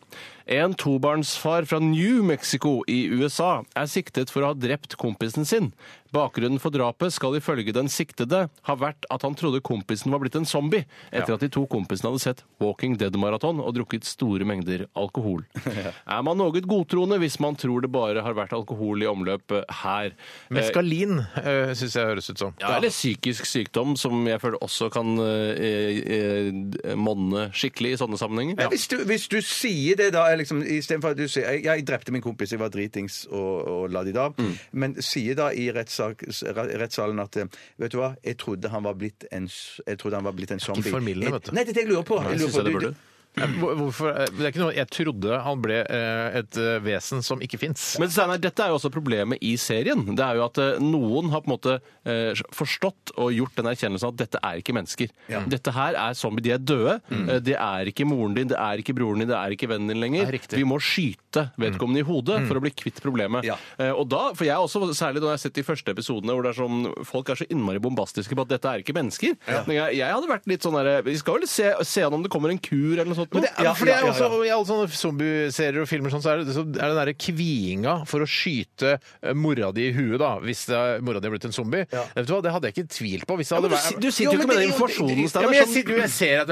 En tobarnsfar fra New Mexico i USA er siktet for å ha drept kompisen sin. Bakgrunnen for drapet skal ifølge den siktede ha vært at han trodde kompisen var blitt en zombie, etter at de to kompisene hadde sett Walking Dead-maraton og drukket store mengder alkohol. Er man noe godtroende hvis man tror det bare har vært alkohol i omløp eh, her? Eh, Meskalin uh, syns jeg høres ut som. ja, eller psykisk sykdom, som jeg føler også kan eh, eh, monne skikkelig i sånne sammenhenger. Men hvis du, hvis du sier det, da er liksom, istedenfor at du sier jeg, 'Jeg drepte min kompis, jeg var dritings og, og la de da', Mm. men sier da i rettssak, rettssalen at eh, 'Vet du hva, jeg trodde han var blitt en, s- jeg trodde han var blitt en zombie'. formildende, Jeg- vet du. Nei, det er det jeg lurer på. Jeg lurer synes på, jeg det du- burde. Eh, hvor- Hvorfor? eh, Det er ikke noe Jeg trodde han ble eh, et eh, vesen som ikke fins. Men Steinar, dette er jo også problemet i serien. Det er jo at eh, noen har på en måte eh, forstått og gjort den erkjennelsen at dette er ikke mennesker. Dette her er zombie. De er døde. Mm. Eh, Det er ikke moren din, det er ikke broren din, det er ikke vennen din lenger. Det er riktig. Mm. Vi må skyte vedkommende i hodet for å bli kvitt problemet. Ja. Eh, Og da, for jeg også, særlig når jeg har sett de første episodene hvor det er sånn, folk er så innmari bombastiske på at dette er ikke mennesker. Men jeg, jeg hadde vært litt sånn der, vi skal vel se, se an om det kommer en kur eller noe sånt. nå. Men det, er- for det er jo også, I alle sånne zombieserier og filmer sånn, så er det, så er det den derre kviinga for å skyte eh, mora di i huet, da, hvis det er, mora di er blitt en zombie. Vet du hva, Det hadde jeg ikke tvilt på. Hvis det Ja, hadde men du, vært- si- du sitter jo ikke med den informasjonen, ja, Steinar. men jeg, sånn- sitter, jo- jeg ser at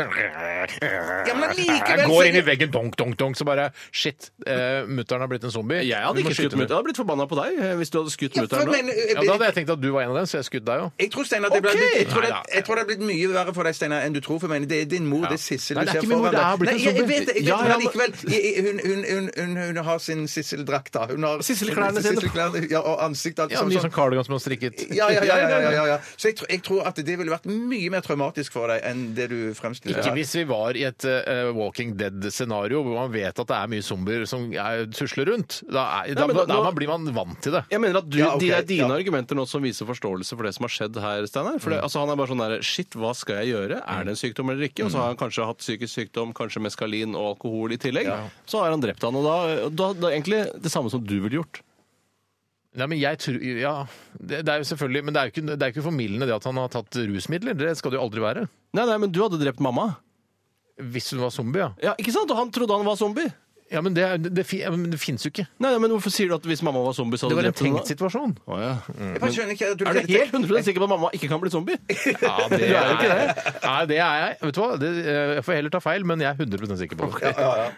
Ja, men likevel Jeg går inn i så- veggen, donk, donk, donk, så bare Shit, eh, mutter'n har blitt en zombie. Jeg hadde Vi må ikke skyte skutt mutter'n. den. Jeg hadde blitt forbanna på deg eh, hvis du hadde skutt Ja, for mutter'n nå. men, eh, Ja, Da hadde jeg tenkt at du var en av dem, så jeg skjøt deg jo. Jeg tror, Steinar, det ble, Ok! jeg, tror det, Neida. jeg tror det har blitt mye verre for deg Steinar, enn du tror. For jeg mener, det er din mor, det er Sissel Nei, du det er ser ikke min mor, foran det er deg. blitt Nei, en jeg, jeg zombie. vet det, jeg vet Ja, det, ja, men likevel. Jeg, jeg, hun, hun, hun, hun, hun har sin Sissel-drakt, da. Hun har Sissel-klærne sine. Sissel-klærne, Ja, og ansikt alt Ja, sammen Ny sånn. sånn kardigan som har strikket. Ja, ja, ja, ja, ja, ja, ja. Så jeg, tror- jeg tror at det ville vært mye mer traumatisk for deg enn det du fremstiller. Ikke hvis vi var i et eh, Walking Dead-scenario hvor man vet at det er mye zombier som er, tusler rundt. Da, er, da, Nei, men da, da- nå- blir man vant til det. Jeg mener at du, Ja, ok, de er dine ja. argumenter nå som viser forståelse for det som har skjedd her, Steinar. For det, altså, han er bare sånn der Shit, hva skal jeg gjøre? Er det en sykdom eller ikke? Og så har han kanskje hatt psykisk sykdom, kanskje meskalin og alkohol i tillegg. Så har han drept han, og da, og da, da egentlig det samme som du ville gjort. Nei, men jeg tror, ja, det, det er jo selvfølgelig, men det er jo ikke, det er jo ikke formildende det at han har tatt rusmidler. Det skal det jo aldri være. Nei, nei, men du hadde drept mamma. Hvis hun var zombie, ja. Ja, ikke sant? Og han trodde han var zombie. Ja, Men det, det, fi- ja, men det fins jo ikke. Nei, nei, men hvorfor sier du at hvis mamma var zombie, så Det hadde var du en drept henne? tenkt situasjon. da? Å, ja. Jeg bare skjønner ikke at du Er du helt 100 sikker på at mamma ikke kan bli zombie? Ja, det er jo ikke det. Nei, det er jeg. Vet du hva? Det, eh, jeg får heller ta feil, men jeg er 100 sikker på det. Ja, ja.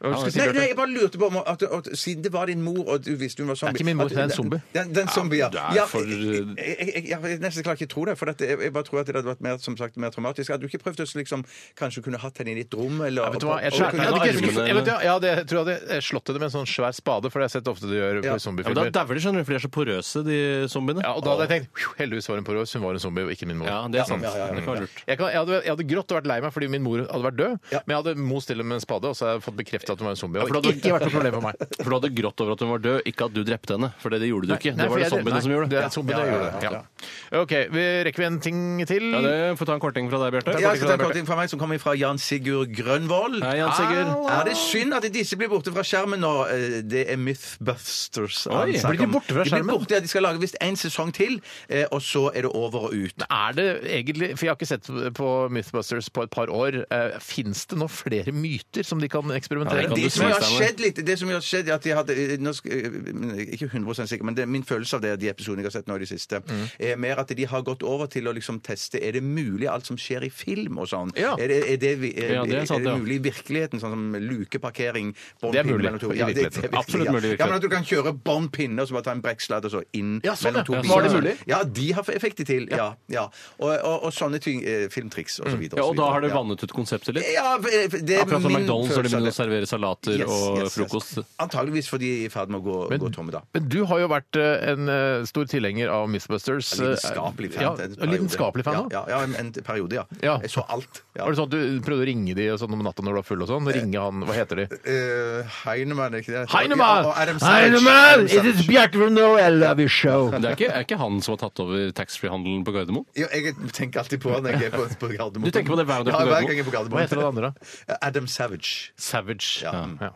Hva skal jeg si, Nei, Bjarte? nei, jeg bare lurte på om at, at siden det var din mor, og du visste hun var zombie Det er ikke min mor, at- det er en zombie. Den, den zombie, ja. du er ja for- jeg, jeg, jeg, jeg, jeg nesten klarer ikke å tro det. For at jeg, jeg bare tror at det hadde vært mer, som sagt, mer traumatisk. Hadde du ikke prøvd å liksom, kanskje kunne hatt henne i ditt rom? Eller, Ja, vet du hva? Jeg, og- skjær, jeg, og kunne- hadde ikke- armene- jeg, vet du hva? jeg, hadde- jeg tror jeg hadde slått det med en sånn svær spade, for det har jeg sett ofte du gjør Ja. på Ja, men zombiefilmer. da dauer de, skjønner du, for de er så porøse, de zombiene. Ja, og da hadde jeg tenkt «Phew, heldigvis var hun på Rose, hun var en zombie og ikke min mor. Ja, det er sant. Ja, ja, ja. Det kan være lurt. Jeg, kan, jeg, hadde, jeg hadde grått og vært lei meg fordi min mor hadde vært død, men jeg hadde most til og med en spade, og så hadde jeg fått bekreftet visste at hun var en zombie. Ja, Og for da hadde- ikke vært noe problem for meg. For du hadde grått over at hun var død, ikke at du drepte henne. For det, det gjorde du ikke. Nei, for det var det jeg- nei, zombiene som gjorde Det det. er zombiene Ja, som ja, gjorde det. ja, Ja. OK, vi rekker vi en ting til? Ja, det får ta en korting fra deg, Bjarte. Jeg skal ta en korting fra meg som kommer fra Jan Sigurd Grønvold. Hei, Jan Sigurd. Ja, det er synd at disse blir borte fra skjermen nå. Eh, Det er Mythbusters. han Oi, snakker blir de om. borte fra De, skjermen? blir borte, ja, de skal lage visst én sesong til, eh, og så er det over og ut. Er det egentlig For jeg har ikke sett på Mythbusters på et par år. Fins det nå flere myter som de kan eksperimentere Ja, det med? kan Det du som jo har Steinar? skjedd litt, det som jo har skjedd er at de hadde eh, nå skal, eh, Ikke 100 sikker, men det, min følelse av det de episodene jeg har sett nå i det siste, Mm. er mer at de har gått over til å liksom teste Er det mulig alt som skjer i film og sånn. Ja. Er, det, er, det, vi- er, Ja, det er sant, er det ja. mulig i virkeligheten, sånn som lukeparkering bånd, Det er pinne mulig mellom to- i Ja, det- det er virkeligheten. virkelig, Absolutt ja. mulig i Ja, men at du kan kjøre bånd pinne og så bare ta en brekksladd og så inn Ja, sånn, mellom to ja. biler. Var det mulig? Ja, de har fikk de til. Ja. ja. Og, og, og sånne ting. eh, Filmtriks og så videre. Mm. Ja, Eh, så og da videre. har det Ja. vannet ut konseptet litt. Ja, eh, det er Akkurat som min McDonald's når de følelse av begynner det. å servere salater Yes, og yes, yes. frokost. Antageligvis fordi de er i ferd med å gå, gå tomme, da. Men du har jo vært eh, en eh, stor tilhenger av Mythbusters. En Lidenskapelig fan. Ja, en og lidenskapelig fan periode. også? ja, ja, ja, en, en periode, ja. Ja. Jeg så alt. Ja. Var det sånn at du prøvde å ringe de og sånn om natta når du var full og sånn? Ringe han, hva heter de? Eh, Heinemann, er ikke det? Heinemann! Ja, og Adam Savage. Heinemann! Adam It Savage. is Bjarte from Norway, I love your show. Det er ikke, er ikke han som har tatt over taxfree-handelen på Gardermoen? Jo, jeg tenker alltid på han når jeg er på, på Gardermoen. Du tenker på det hver gang du er ja, på hver Gardermoen. gang jeg er på Gardermoen. Eh, Hva heter det andre, Adam Savage. Savage. Ja. Ja.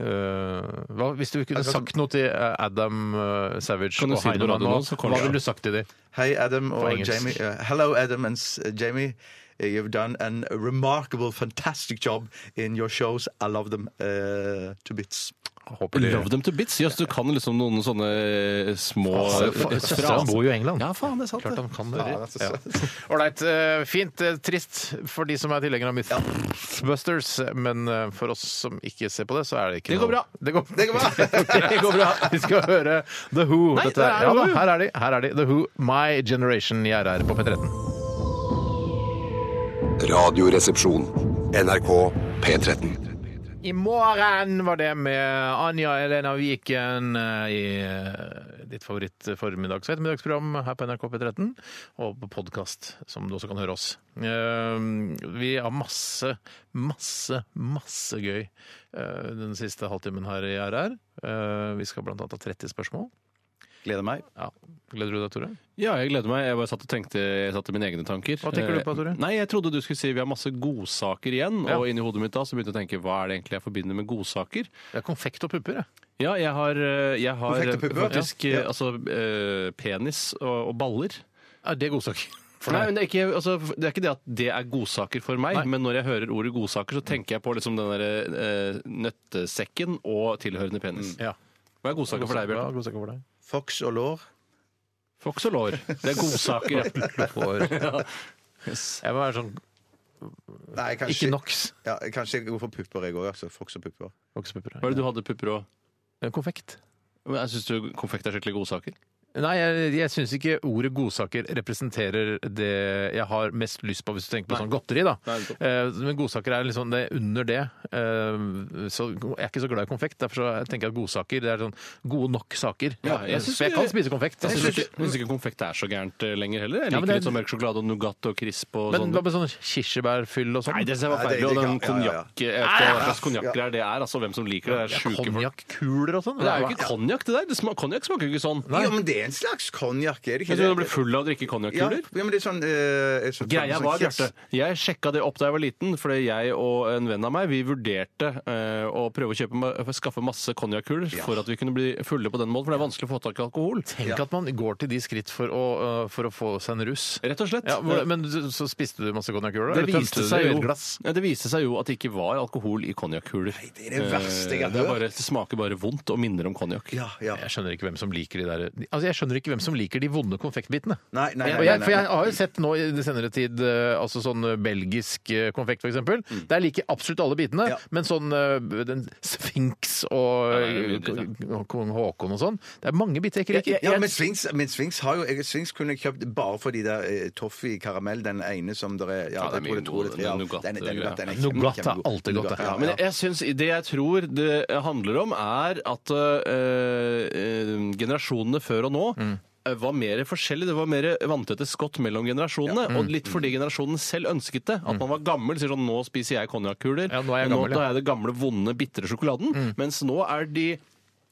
Eh, hva, hvis du kunne Akkurat som- sagt noe til eh, Adam eh, Savage Kan du og si det på Heinemann, radio nå, nå, så kommer hva det. ville du sagt til dem? Hei, Adam og engelsk. Jamie. Uh, hello, Adam and s- eh, Jamie. You've done an remarkable, fantastic job in your shows. I love them uh, to bits. Håper de- Love them to bits. Jøss, du kan liksom noen sånne små eh, Altså, fa- Søstera bor jo i England. Ja, faen, det er sant. Klart det. han eh. kan det. Ja, det er eh. så Ålreit. fint. eh, Trist for de som er tilhengere av Mythbusters, men eh, for oss som ikke ser på det, så er det ikke Det går noe- bra. Det går, Det går bra. Det går bra. Vi skal høre The Who. Nei, Dette er, det er ja, da, The Who. her er de. Her er de. The Who, My Generation i RR på P13. Radioresepsjon. NRK P13. I morgen var det med Anja Elena Viken eh, i eh, ditt favoritt formiddags- og ettermiddagsprogram her på NRK P13, og på podkast, som du også kan høre oss. Eh, Vi har masse, masse, masse gøy eh, den siste halvtimen her i RR. Eh, Vi skal blant annet ha 30 spørsmål. Gleder meg. Ja. Gleder du deg, Tore? Ja, jeg gleder meg. Jeg bare satt og tenkte jeg satt i mine egne tanker. Hva tenker du på, Tore? Eh, Nei, Jeg trodde du skulle si vi har masse godsaker igjen. Ja. Og inni hodet mitt da så begynte jeg å tenke hva er det egentlig jeg forbinder med godsaker? Det er konfekt og pupper, jeg. Ja, jeg har, eh, jeg har Konfekt og pupper, faktisk ja. eh, Ja. altså eh, penis og, og baller. Er det godsak? Nei, men det er, ikke, altså, det er ikke det at det er godsaker for meg, Nei. men når jeg hører ordet godsaker, så tenker jeg på liksom den der, eh, nøttesekken og tilhørende penis. Ja. Hva er godsaker for deg, Ja, Bjørn? Mm. godsaker for deg. Fox og lår. Fox og lår. Det er godsaker. ja. Jeg må være sånn Nei, kanskje ikke NOx. Ja, kanskje jeg går for pupper, jeg òg. Altså. Fox og pupper. Voksepupper. Hva er det du hadde pupper og Ja, Konfekt. Men Jeg Syns du konfekt er skikkelig godsaker? Nei, jeg, jeg syns ikke ordet godsaker representerer det jeg har mest lyst på, hvis du tenker på sånn godteri, da. Nei, nettopp. Eh, men godsaker er liksom det under det. Eh, så jeg er ikke så glad i konfekt. Derfor så tenker jeg at godsaker det er sånn gode nok saker. Ja, jeg synes så jeg det- kan spise konfekt. altså. Jeg Jeg syns synes- ikke, jeg synes ikke konfekt er så gærent eh, lenger heller. Ja, Jeg liker men det er- litt sånn mørk sjokolade og Nougat og Crisp og men sånn. hva med sånn kirsebærfyll og sånn? Nei, det ser jeg Nei, var det er feil. Og den ikke- ja, ja, ja. konjakk eh, Jeg vet ikke Ah! hva slags konjakker er det er, altså. Hvem som liker det. Det er sjuke folk. Konjakkuler og sånn? Det er jo ikke konjakk, det der. Det sma- Konjakk smaker jo ikke sånn. Jo, men det er en slags konjakk, er det ikke Jeg tror du blir full av å drikke ja, konjakkuler. ja, men det er sånn, eh, sånn Greia sånn var, kiss. Bjarte, jeg sjekka det opp da jeg var liten, fordi jeg og en venn av meg vi vurderte eh, å prøve å kjøpe, ma- skaffe masse konjakkuler for at vi kunne bli fulle på den måten, for det er vanskelig å få tak i alkohol. Tenk at man går til de skritt for å, eh, for å få seg en russ. Rett og slett. Ja, hvor, men så, så spiste du masse konjakkuler? Det eller tømte viste, du seg i et jo, glass? ja, det viste seg jo at det ikke var alkohol i konjakkuler. Det er det verste jeg Eh, har Det, er hørt. bare- det smaker bare vondt og minner om konjakk. Ja, ja. Jeg skjønner ikke hvem som liker de der Altså, jeg skjønner ikke hvem som liker de vonde konfektbitene. Nei, nei, nei, Og jeg, nei, for nei. jeg har jo sett nå i den senere tid eh, altså sånn eh, belgisk eh, konfekt, f.eks. Mm. Der liker absolutt alle bitene, Ja. men sånn eh, den sfinks og Ja, det er jo eh, kong Haakon og sånn Det er mange biter jeg ikke liker. Ja, men Sphinx, men Sphinx, har jo, jeg- Sphinx kunne jeg kjøpt bare for de der eh, toffee karamell, den ene som der er Ja, Ja, det er jeg tror det mye er to eller god, tre. ja. den nougat- Den, den, nougat, den er kjempe- Nougat er kjempegod. alltid godt, Nougat, det. ja, Men ja. jeg, jeg syns Det jeg tror Mm. det handler om, er at eh, eh, generasjonene før og nå eh, var mer forskjellig. Det var mer vanntette skott mellom generasjonene. Mm. Og litt fordi generasjonen selv ønsket det. At man var gammel. Sier sånn Nå spiser jeg konjakkuler. Ja, nå er jeg gammel, ja. da er jeg det gamle, vonde, bitre sjokoladen. Mm. Mens nå er de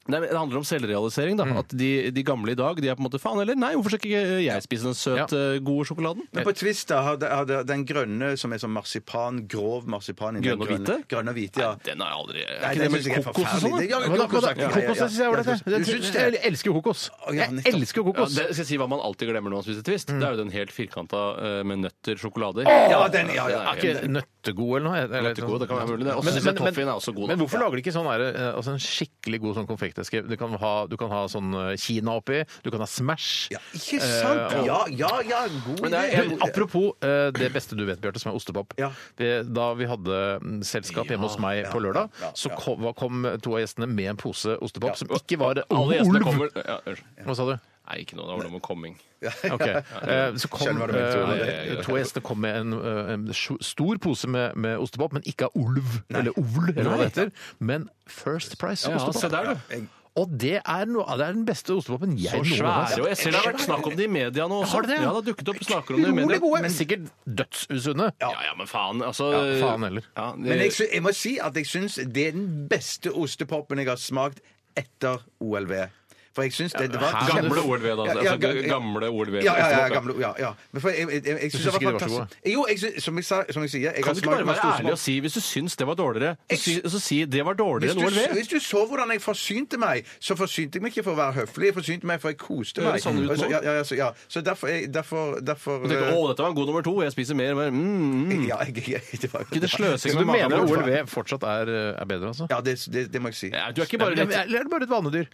Nei, men Det handler om selvrealisering. da, Mm. At de, de gamle i dag de er på en måte faen eller nei, hvorfor skal ikke jeg spise den søte, gode sjokoladen? Men på Twist da, har de- har de- den grønne som er sånn marsipan, grov marsipan i den Grønn og hvite? Grønn og hvite, ja. Nei, den har jeg aldri Er Nei, den ikke det med synes jeg er kokos og forferdelig. sånn? Det- ja, da? Hva da, hva da? ja, ja, ja. Kokos jeg synes jeg var det. Du synes det? Jeg elsker kokos. Å, ja, Jeg nettopp. elsker kokos. Ja, det, skal jeg si hva man alltid glemmer når man spiser Twist? Det er jo den helt firkanta eh, med nøtter, sjokolader. Ja, den, ja, ja. Er ikke nøttegod eller noe? Eller- Nøttegod, det kan være mulig, det. Også synes jeg toffeen er også god, da. Men hvorfor lager de ikke sånn der, eh, altså en skikkelig god sånn konfekteske? Du kan ha, du kan ha sånn eh, Kina oppi, du kan ha Smash. Ja, ikke sant? Eh, og- Ja, ja, ja, god Men det er- idé. jeg- Du, apropos eh, det beste du vet, Bjarte, som er ostepop. Ja. Det, da vi hadde mm, selskap hjemme hos meg på lørdag, ja, ja. så kom, var- kom to av gjestene med en pose ostepop som ikke var Alle Ulv! gjestene kommer ja, unnskyld. Hva sa du? Nei, ikke noe. Det var noe med komming. Ok. Eh, Så kom Skjønner hva du mener, Tore. eh, Ja, ja, ja. to gjester kom med en, eh, en sj- stor pose med, med ostepop, men ikke av ulv eller ovl, eller hva det heter, men First Price Ja, se ostepop. der, du. Og det er, noe, det er den beste ostepopen jeg Så noen gang har svære. sett. Og jeg ser det har vært snakk om det i media nå også. Har det det? Ja, det har dukket opp snakker om det i Utrolig media. gode, men sikkert dødsusunne. Ja, ja, men faen, altså. Ja, faen heller. Ja, det- Men jeg, sy- jeg må si at jeg syns det er den beste ostepopen jeg har smakt etter OLV. For jeg syns det, det var her- Gamle OLV, da. Ja, ja, altså, ga- ja. gamle OLV. ja, ja, ja, gamle, ja, ja. Men for jeg, jeg, jeg, jeg syns ikke det var de var så fantastisk. Jo, jeg syns, som, jeg sa, som jeg sier jeg Kan har du ikke bare smakt masse være ærlig og ostepop. si hvis du syns det var dårligere, så Jeg si, så si det var Hvis dårligere enn du, OLV? hvis du så hvordan jeg forsynte meg, så forsynte jeg meg ikke for å være høflig. Jeg forsynte meg for jeg koste Høres meg. sånn ut Og så- nå. ja, ja, ja, så, ja. så derfor, jeg, derfor, derfor eh, Og tenker, å, dette var en god nummer to, jeg spiser mer. mer. Mm, mm. ja, jeg, jeg, det var, Ikke det sløsing Så du med magen. mener i hvert fall. OLV fortsatt er, er bedre, altså? Ja, det, det, det må jeg si. Ja, Du er ikke bare Eller litt eller er det bare et vanedyr?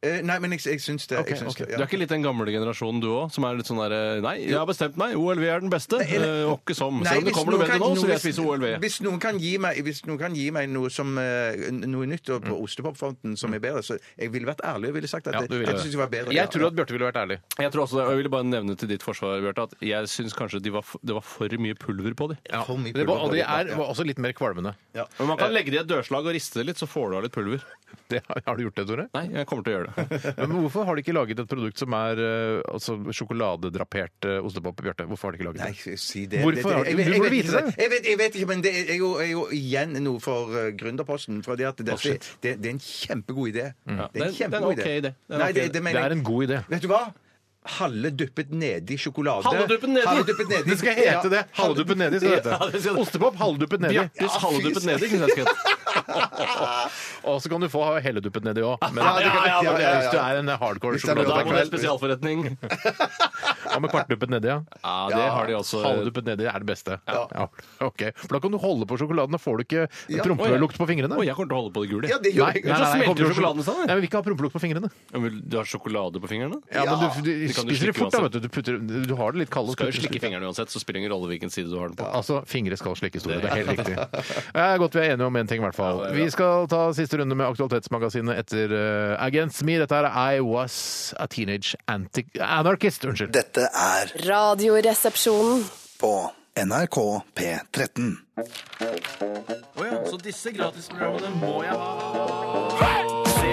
Eh, Nei, men jeg, jeg syns det. Jeg syns ok. det ja. Du er ikke litt den gamle generasjonen du òg, som er litt sånn derre Nei, jeg har bestemt meg, OLV er den beste. Nei, eller- eh, og ikke som. Nei, Selv om det hvis kommer noe noen bedre kan- nå, så vil jeg hvis- spise OLV. Hvis noen kan gi meg, hvis noen kan gi meg noe, som, eh, noe nytt og på ostepopfronten som er bedre, så jeg ville vært ærlig og ville sagt at Ja, det, du ville dette det. synes jeg var bedre. Jeg tror at Bjarte ville vært ærlig. Jeg tror også, det, og jeg ville bare nevne til ditt forsvar, Bjarte, at jeg syns kanskje de var, f- det var for mye pulver på de. For mye Det var, pulver på og det det, ja, er, ja. var også litt mer kvalmende. ja. Men man kan legge det i et dørslag og riste det litt, så får du av litt pulver. Det, har har du gjort det, Tore? Nei, jeg kommer til å gjøre det. Men hvorfor har de ikke laget et produkt som er eh, altså, sjokoladedrapert eh, ostepop, Bjarte? Hvorfor har de ikke laget Nei, det? si det. Hvorfor det, har du- det, jeg, du jeg, jeg, må vet vite ikke- det. jeg, vet, jeg vet ikke, men det er jo, er jo igjen noe for eh, gründerposten. For det, at dette- shit. det, det er en kjempegod idé. Det er en- det er en ok idé. Det er en Nei, ok det, idé. det Det mener er jeg en god idé. Vet du hva? Halve duppet nedi sjokolade. Halvduppet nedi. Halvduppet nedi. Det skal hete det! Halvduppet nedi. skal det Ja, det hete. skal det. Ostepop, halvduppet nedi. Bjartes Ja, fy halvduppet søren. nedi, kunne jeg skrevet. Og så kan du få helleduppet nedi òg. Men Ja, det ja, ja, ja, ja, ja. hvis du er en hardcore Hvis det er Da må det en sjokoladedrapert. spesialforretning. Hva med kvartduppet nedi, ja? Ja, det har de altså- også. Halvduppet nedi er det beste. Ja. ok. For da kan du holde på sjokoladen, da får du ikke prompelukt på fingrene. Å, jeg kommer til å holde på det gule. Ja, det gjør Nei, jeg. nei, nei, Så nei, smelter kommer til å- sjokoladen sammen. Nei, men Vi ikke ha prompelukt på fingrene. Ja, men Du har sjokolade på fingrene? Ja, men du, du, Det kan spiser du det slikke fort, da, uansett. vet du. Du, putter, du har det litt kaldt. og Skal jo putter- slikke fingrene uansett, så spiller det ingen rolle hvilken side du har den på. Altså, fingre skal slikkes, Tore. Det er helt riktig. Det er godt vi er enige om én ting, i hvert fall. Vi skal ta siste runde med Aktualitetsmagasinet etter eh, Agent Smee. Dette her er I Was A Teenage anti Anarchist. Unnskyld. Dette er Radioresepsjonen. på NRK P13. Å ja, så disse gratisprogrammene må jeg ha. Se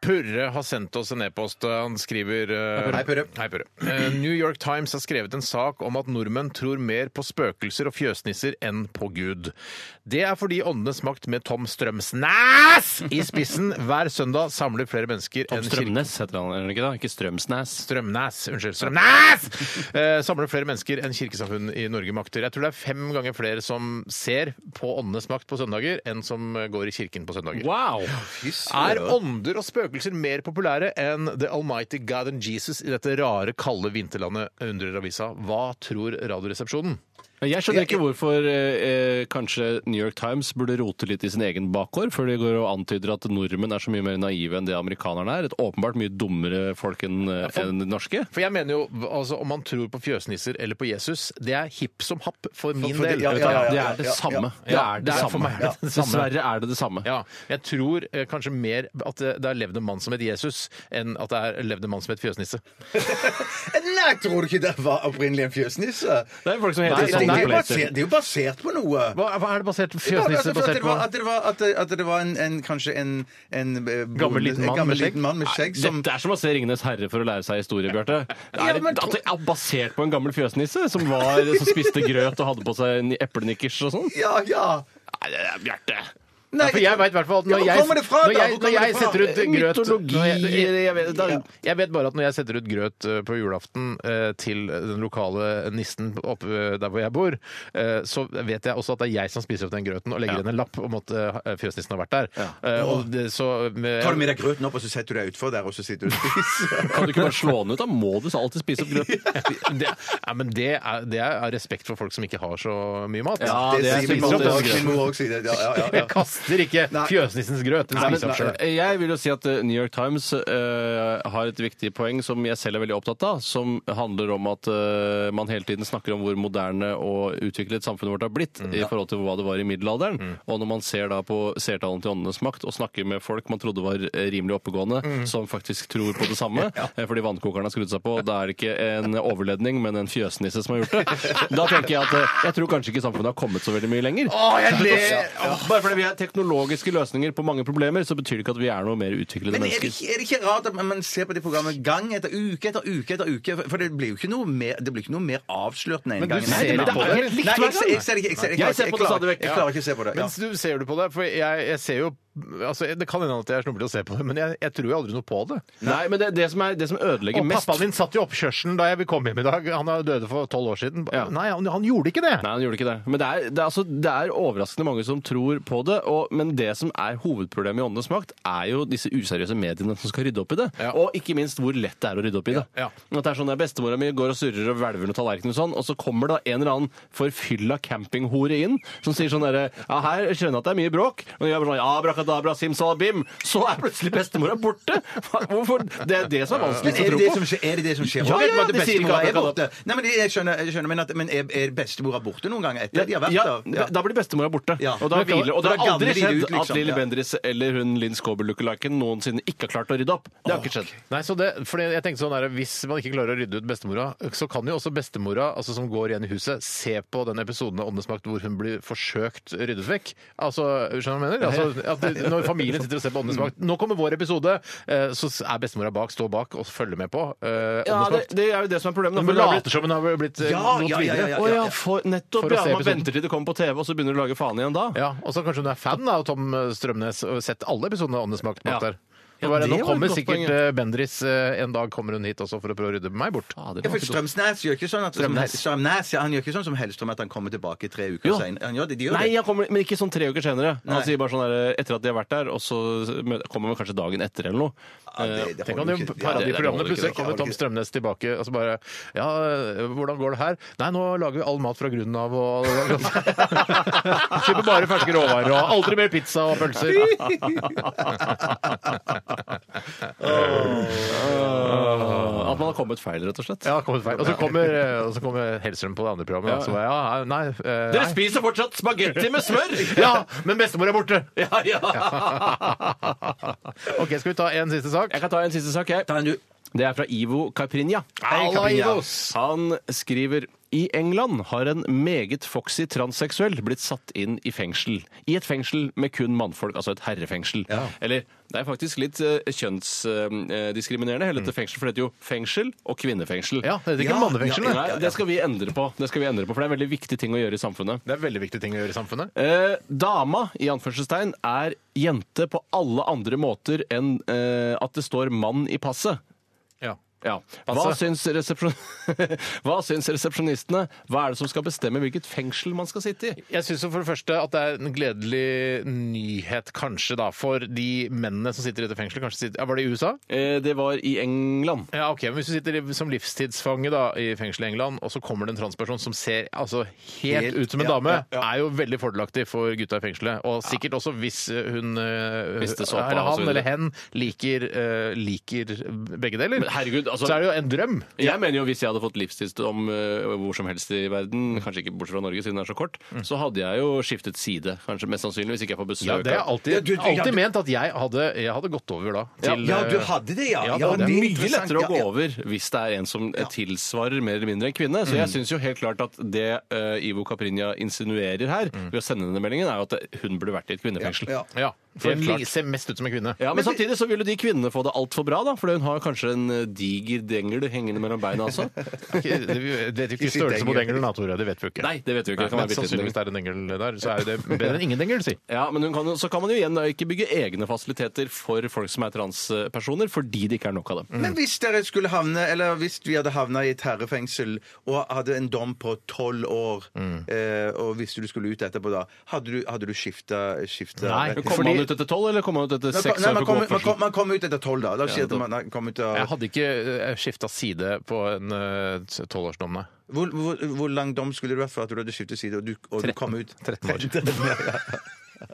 Purre har sendt oss en e-post. Han skriver eh, Hei, Purre. Hei, Purre. Eh, New York Times har skrevet en sak om at nordmenn tror mer på spøkelser og fjøsnisser enn på Gud. Det er fordi Åndenes makt med Tom Strømsnæs i spissen hver søndag samler flere mennesker enn kirken- Strømnes heter han, er det ikke da? Ikke Strømsnæs. Strømnes, unnskyld, Strømnes! Eh, samler flere mennesker enn kirkesamfunn i Norge makter. Jeg tror det er fem ganger flere som ser på åndenes makt på søndager, enn som går i kirken på søndager. Wow! Er ånder og spøkelser mer populære enn The Almighty God and Jesus i dette rare, kalde vinterlandet, undrer avisa. Hva tror Radioresepsjonen? Jeg skjønner ikke hvorfor eh, eh, kanskje New York Times burde rote litt i sin egen bakgård, før de går og antyder at nordmenn er så mye mer naive enn det amerikanerne er. Et åpenbart mye dummere folk enn eh, enn norske. For jeg mener jo, altså, om man tror på fjøsnisser eller på Jesus, det er hipp som happ for min for det- del. ja, Vet ja, du hva? ja, ja. Det er det samme. Det Ja, er det det er- for samme. meg er det det samme. Dessverre er det det samme. Ja, jeg tror eh, kanskje mer at eh, det, det er levd en mann som het Jesus, enn at det er levd en mann som het fjøsnisse. Nei, tror du ikke det var opprinnelig en fjøsnisse? Det er folk som Nei, heter det er sånn det, er jo Nei, basert, det er jo basert på noe. Hva, hva er det basert, Ja, altså, fjøsnisse for at basert det var- på? At det var, at det- at det var en, en, kanskje en, en eh, bonde- Gammel liten mann gammel med skjegg? liten mann med skjegg som Dette er som å se 'Ringenes herre' for å lære seg historie, Bjarte. Det Ja, er, men- at det er basert på en gammel fjøsnisse som, var, som spiste grøt og hadde på seg en eplenikkers og sånn. Ja, ja. Nei, det er Bjarte. Nei, for jeg vet i hvert fall at Ja, når hvor jeg, kommer det fra, når jeg, da? Hvor når kommer jeg det fra? setter ut grøt Mytologi. når jeg, jeg, jeg, vet, Ja. da, jeg vet bare at når jeg setter ut grøt eh, på julaften eh, til den lokale nissen oppe eh, der hvor jeg bor, eh, så vet jeg også at det er jeg som spiser opp den grøten og legger igjen en lapp om at eh, fjøsnissen har vært der. Eh, og det, så, med, Tar du med deg grøten opp, og så setter du deg utfor der, og så sitter du og spiser. Kan du ikke bare slå den ut? Da må du så alltid spise opp grøt. det, ja, men det er, det er av respekt for folk som ikke har så mye mat. Ja, det er sier spiser min opp mor den også. grøten. Min mor også sier det. Ja, ja, ja, ja. Jeg kaster ikke Nei. fjøsnissens grøt. Den Nei, spiser jeg opp nei, selv. Eh, Jeg vil jo si at eh, New York Times eh, har et viktig poeng som jeg selv er veldig opptatt av, som handler om at eh, man hele tiden snakker om hvor moderne og utviklet samfunnet vårt har blitt i forhold til hva det var i middelalderen. Og når man ser da på seertalen til Åndenes makt og snakker med folk man trodde var eh, rimelig oppegående, som faktisk tror på det samme, eh, fordi vannkokeren har skrudd seg på, da er det ikke en overledning, men en fjøsnisse som har gjort det. Da tenker jeg at eh, jeg tror kanskje ikke samfunnet har kommet så veldig mye lenger. Bare fordi vi har teknologiske løsninger på mange problemer, så betyr det ikke at vi er noe mer utviklede Men er det, mennesker. ikke, er det ikke rart at man- man ser på det programmet gang etter uke etter uke etter uke? For det blir jo ikke noe mer, det blir ikke noe mer avslørt den ene Men du gangen. ser Nei, det blir på ikke det. det. Nei, jeg, ser- jeg ser det ikke. Jeg, ser, jeg, Jeg klarer- ser på det klarer- stadig vekk. Jeg klarer ikke å se på det. Ja. Men du, ser du på det? For jeg, jeg ser jo altså, Det kan hende at jeg er snobbelig og ser på det, men jeg, jeg tror jo aldri noe på det. Nei, men det, det, som er, det som ødelegger Og mest pappaen min satt i oppkjørselen da jeg kom hjem i dag. Han er- døde for tolv år siden. Ja. Nei, han, han gjorde ikke det. Nei, han gjorde ikke det. Men det er, det, er, altså, det er overraskende mange som tror på det. Og, men det som er hovedproblemet i Åndenes makt, er jo disse useriøse mediene som skal rydde opp i det. Ja. Og ikke minst hvor lett det er å rydde opp i det. Ja, At det er sånn der Bestemora mi går og surrer og hvelver under tallerkenen og sånn, og så kommer det da en eller annen forfylla campinghore inn som sier sånn derre Ja, her skjønner jeg at det er mye bråk. Og jeg bare sånn Ja, brakadabra, simsalabim. Så er plutselig bestemora borte! Hva- Hvorfor? Det er det som er Men vanskeligst er å det tro det på. som skjer? Er det det som skjer? Ja, Og vet ja, man at det sier ikke bestemora alle er borte. Nei, men jeg skjønner, jeg skjønner men, at, men er, er bestemora borte noen ganger etter de har vært ja, der? da- Da blir bestemora borte. Ja. Og, da Men hviler, og det da har aldri gambler de skjedd ut, liksom. at Lille Ja. Bendriss eller hun Linn Skåber-lookaliken noensinne ikke har klart å rydde opp. Det har ikke skjedd. Nei, så det, fordi jeg tenkte sånn der, Hvis man ikke klarer å rydde ut bestemora, så kan jo også bestemora altså som går igjen i huset, se på den episoden av Åndenes makt hvor hun blir forsøkt ryddet vekk. Altså, skjønner du hva jeg mener? Altså, at det, når familien sitter og ser på Åndenes makt Nå kommer vår episode, eh, så er bestemora bak, står bak og følger med på. eh, Ja, Åndenes det, makt. det er jo det som er problemet. da, Hun for det har blitt- later som hun har blitt eh, Ja, gått ja, ja, ja, videre. ja. Å ja, for, nettopp. For å ja, se man episoden. venter til det kommer på TV, og så begynner du å lage faen igjen da. Ja, og så kanskje hun er fan da, av Tom Strømnes og har sett alle episodene av Åndenes makt. Ja. bak der. Ja, Nå bare, det nå var et kommer godt sikkert poeng, ja. eh, Bendris eh, en dag kommer hun hit også for å prøve å rydde meg bort. Ja, det Ja, kan for ikke gå. Strømsnes gjør ikke sånn at Strømnes. Strømnes, ja, han gjør ikke sånn som Hellstrøm at han kommer tilbake tre uker Jo. senere. Han gjør det, de gjør Nei, det. han kommer, men ikke sånn tre uker senere. Han Nei. sier bare sånn der, etter at de har vært der, og så mø- kommer man kanskje dagen etter eller noe. Ja, det- det Tenk om holder det parer de ikke. Ja, det- det holder programmene. ikke, Plutselig det kommer holder Tom ikke. Strømnes tilbake og så bare Ja, eh, hvordan går det her? Nei, nå lager vi all mat fra grunnen av og Kjøper bare ferske råvarer og aldri mer pizza og pølser. At man har kommet feil, rett og slett. Ja, det har kommet feil. Og så kommer, eh, og så kommer Hellstrøm på det andre programmet. Og så bare, ja, nei, eh, Dere nei. spiser fortsatt spagetti med smør! Ja, men bestemor er borte! ja, ja. OK, skal vi ta en siste sak? Jeg kan ta en siste sak, jeg. Ta en, du. Det er fra Ivo Caprinja. Han skriver i England har en meget foxy transseksuell blitt satt inn i fengsel. I et fengsel med kun mannfolk, altså et herrefengsel. Eller det er faktisk litt eh, kjønnsdiskriminerende. Hele dette fengsel, for det heter jo fengsel og kvinnefengsel. Ja, det heter ikke Ja, mannefengsel, ja, det. Nei, det skal vi endre på. Det skal vi endre på, for det er en veldig viktig ting å gjøre i samfunnet. Det er veldig viktige ting å gjøre i samfunnet. Eh, dama, i anførselstegn, er jente på alle andre måter enn eh, at det står mann i passet. Ja. Ja. Hva Passet. syns, resepsjon... Hva syns resepsjonistene? Hva er det som skal bestemme hvilket fengsel man skal sitte i? Jeg syns for det første at det er en gledelig nyhet, kanskje, da, for de mennene som sitter i dette fengselet. Kanskje sitter, ja, var det i USA? Eh, det var i England. Ja, ok, men Hvis du sitter i- som livstidsfange da, i fengsel i England, og så kommer det en transperson som ser altså, helt, Helt, ut som en ja, dame, ja, ja. er jo veldig fordelaktig for gutta i fengselet. Og sikkert også hvis eh, hun eh, Hvis det så på, eller og så han videre. eller hen liker, eh, liker begge deler. Men herregud, altså, Så er det jo en drøm. Jeg mener jo hvis jeg hadde fått livstidsdom eh, hvor som helst i verden, kanskje ikke bortsett fra Norge siden det er så kort, så hadde jeg jo skiftet side, kanskje mest sannsynlig, hvis ikke jeg får besøk. Ja, det er av- alltid, Ja, du- du- alltid ja, du- ment at jeg hadde, jeg hadde gått over da. Til, ja, du eh, hadde det, ja. ja, Ja, det er det er det- mye. mye interessant, lettere å gå ja, ja. over hvis det er en som eh, tilsvarer mer eller mindre en kvinne. Så Mm. jeg syns jo helt klart at det eh, Ivo Caprinia insinuerer her ved å sende denne meldingen, er jo at hun burde vært i et kvinnefengsel. Mm. Ja. Ja, for Helt hun klart. li- ser mest ut som en kvinne. Ja, men, samtidig så ville de kvinnene få det altfor bra, da. For hun har kanskje en eh, diger dengel hengende mellom beina også. Ikke- Det det vet jo ikke I sitt størrelse på engel. dengelen, da, Tore. Det vet vi jo ikke. Nei, det vet vi jo ikke. Nei, Det men kan være bitte liten sannsynligvis dengel. det er en engel der, så er jo det bedre enn ingen dengel, si. ja, men hun kan, jo- så kan man jo igjen da ikke bygge egne fasiliteter for folk som er transpersoner, fordi det ikke er nok av dem. Men hvis dere skulle havne, eller hvis vi hadde havna i et herrefengsel og hadde en dom på tolv år, Mm. eh, og visste du skulle ut etterpå da, hadde du, hadde du skifta Nei, Men Kommer man ut etter tolv, eller kommer man ut etter seks år man for kommer man oppførsel? kom, man kom ut etter tolv, da. La oss si at man kom ut av Jeg hadde ikke skifta side på en eh, tolvårsdom, nei. hvor, hvor, hvor lang dom skulle det vært for at du hadde skiftet side og du, og du kom ut? 13 år.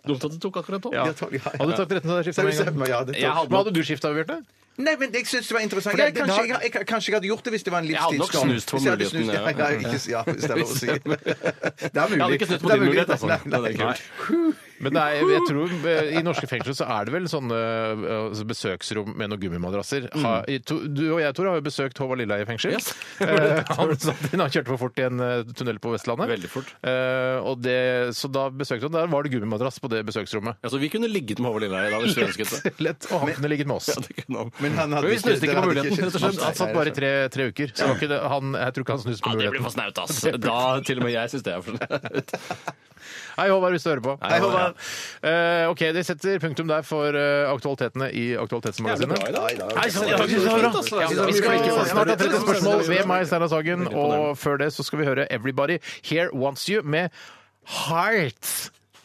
Dumt at det tok akkurat tolv. Ja, tolv, ja, ja. Hadde du tatt 13 år skifta med en gang? Ja, det tok- Jeg hadde Hva hadde du skifta, Bjarte? Nei, men jeg synes det var interessant. For det Jeg, er kanskje, kanskje- jeg, jeg, kanskje jeg hadde gjort det hvis det var en Jeg hadde nok livstidsdom. snust på Hvis jeg hadde muligheten, snust- ja. ja, ja, ikke, ja, hvis det er lov å si. Hvis- Det er mulig. Jeg hadde ikke snudd på Det er din mulig. mulighet, altså. Nei, nei. Det er kult. Men nei, jeg tror eh, I norske fengsler så er det vel sånne eh, altså besøksrom med noen gummimadrasser. Ha, i to, du og jeg, Tore, har jo besøkt Håvard Lilleheie fengsel. Mm. Yes. Eh, han, satt inn- han kjørte for fort i en eh, tunnel på Vestlandet. Veldig fort. Eh, og det, så da besøkte han, der var det gummimadrass på det besøksrommet. Altså, vi kunne ligget med Håvard Lilleheie da, hvis vi ønsket det. Lett, og han kunne ligget med oss. Ja, det kunne han. Men han hadde Men vi ikke- snuste det ikke på hadde muligheten, ikke- rett og Han, slett. han satt bare i tre, tre uker, så det var ikke det, han, jeg tror ikke han snuste på Ja, det blir muligheten. for snaut, ass. Da til og med jeg syns det er for snaut. Hei, Håvard, hvis du hører på. Hei, Håvard. Eh, OK, det setter punktum der for eh, aktualitetene i Aktualitetsmagasinet. Nei, så- jeg synes det var bra. Ja, men Vi skal ikke snart ha 30 spørsmål ved meg, Steinar Sagen. Og før det så skal vi høre Everybody Here Wants You med Hearts.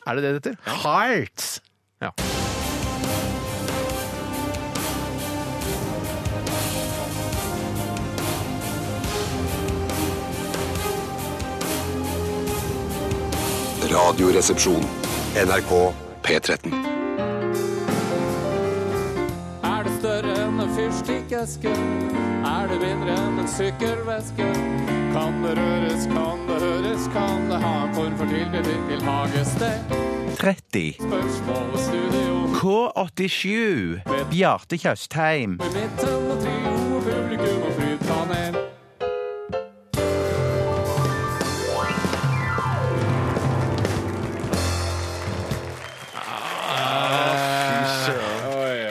Er det det det heter? Hearts. Ja. Radioresepsjon. NRK P13. Er det større enn en fyrstikkeske? Er det mindre enn en sykkelveske? Kan det røres, kan det høres, kan det ha en form for tilknytning til hagested? 30. Spørsmål og studio K87. Bjarte Tjøstheim. i midten og trio og publikum og flypanel.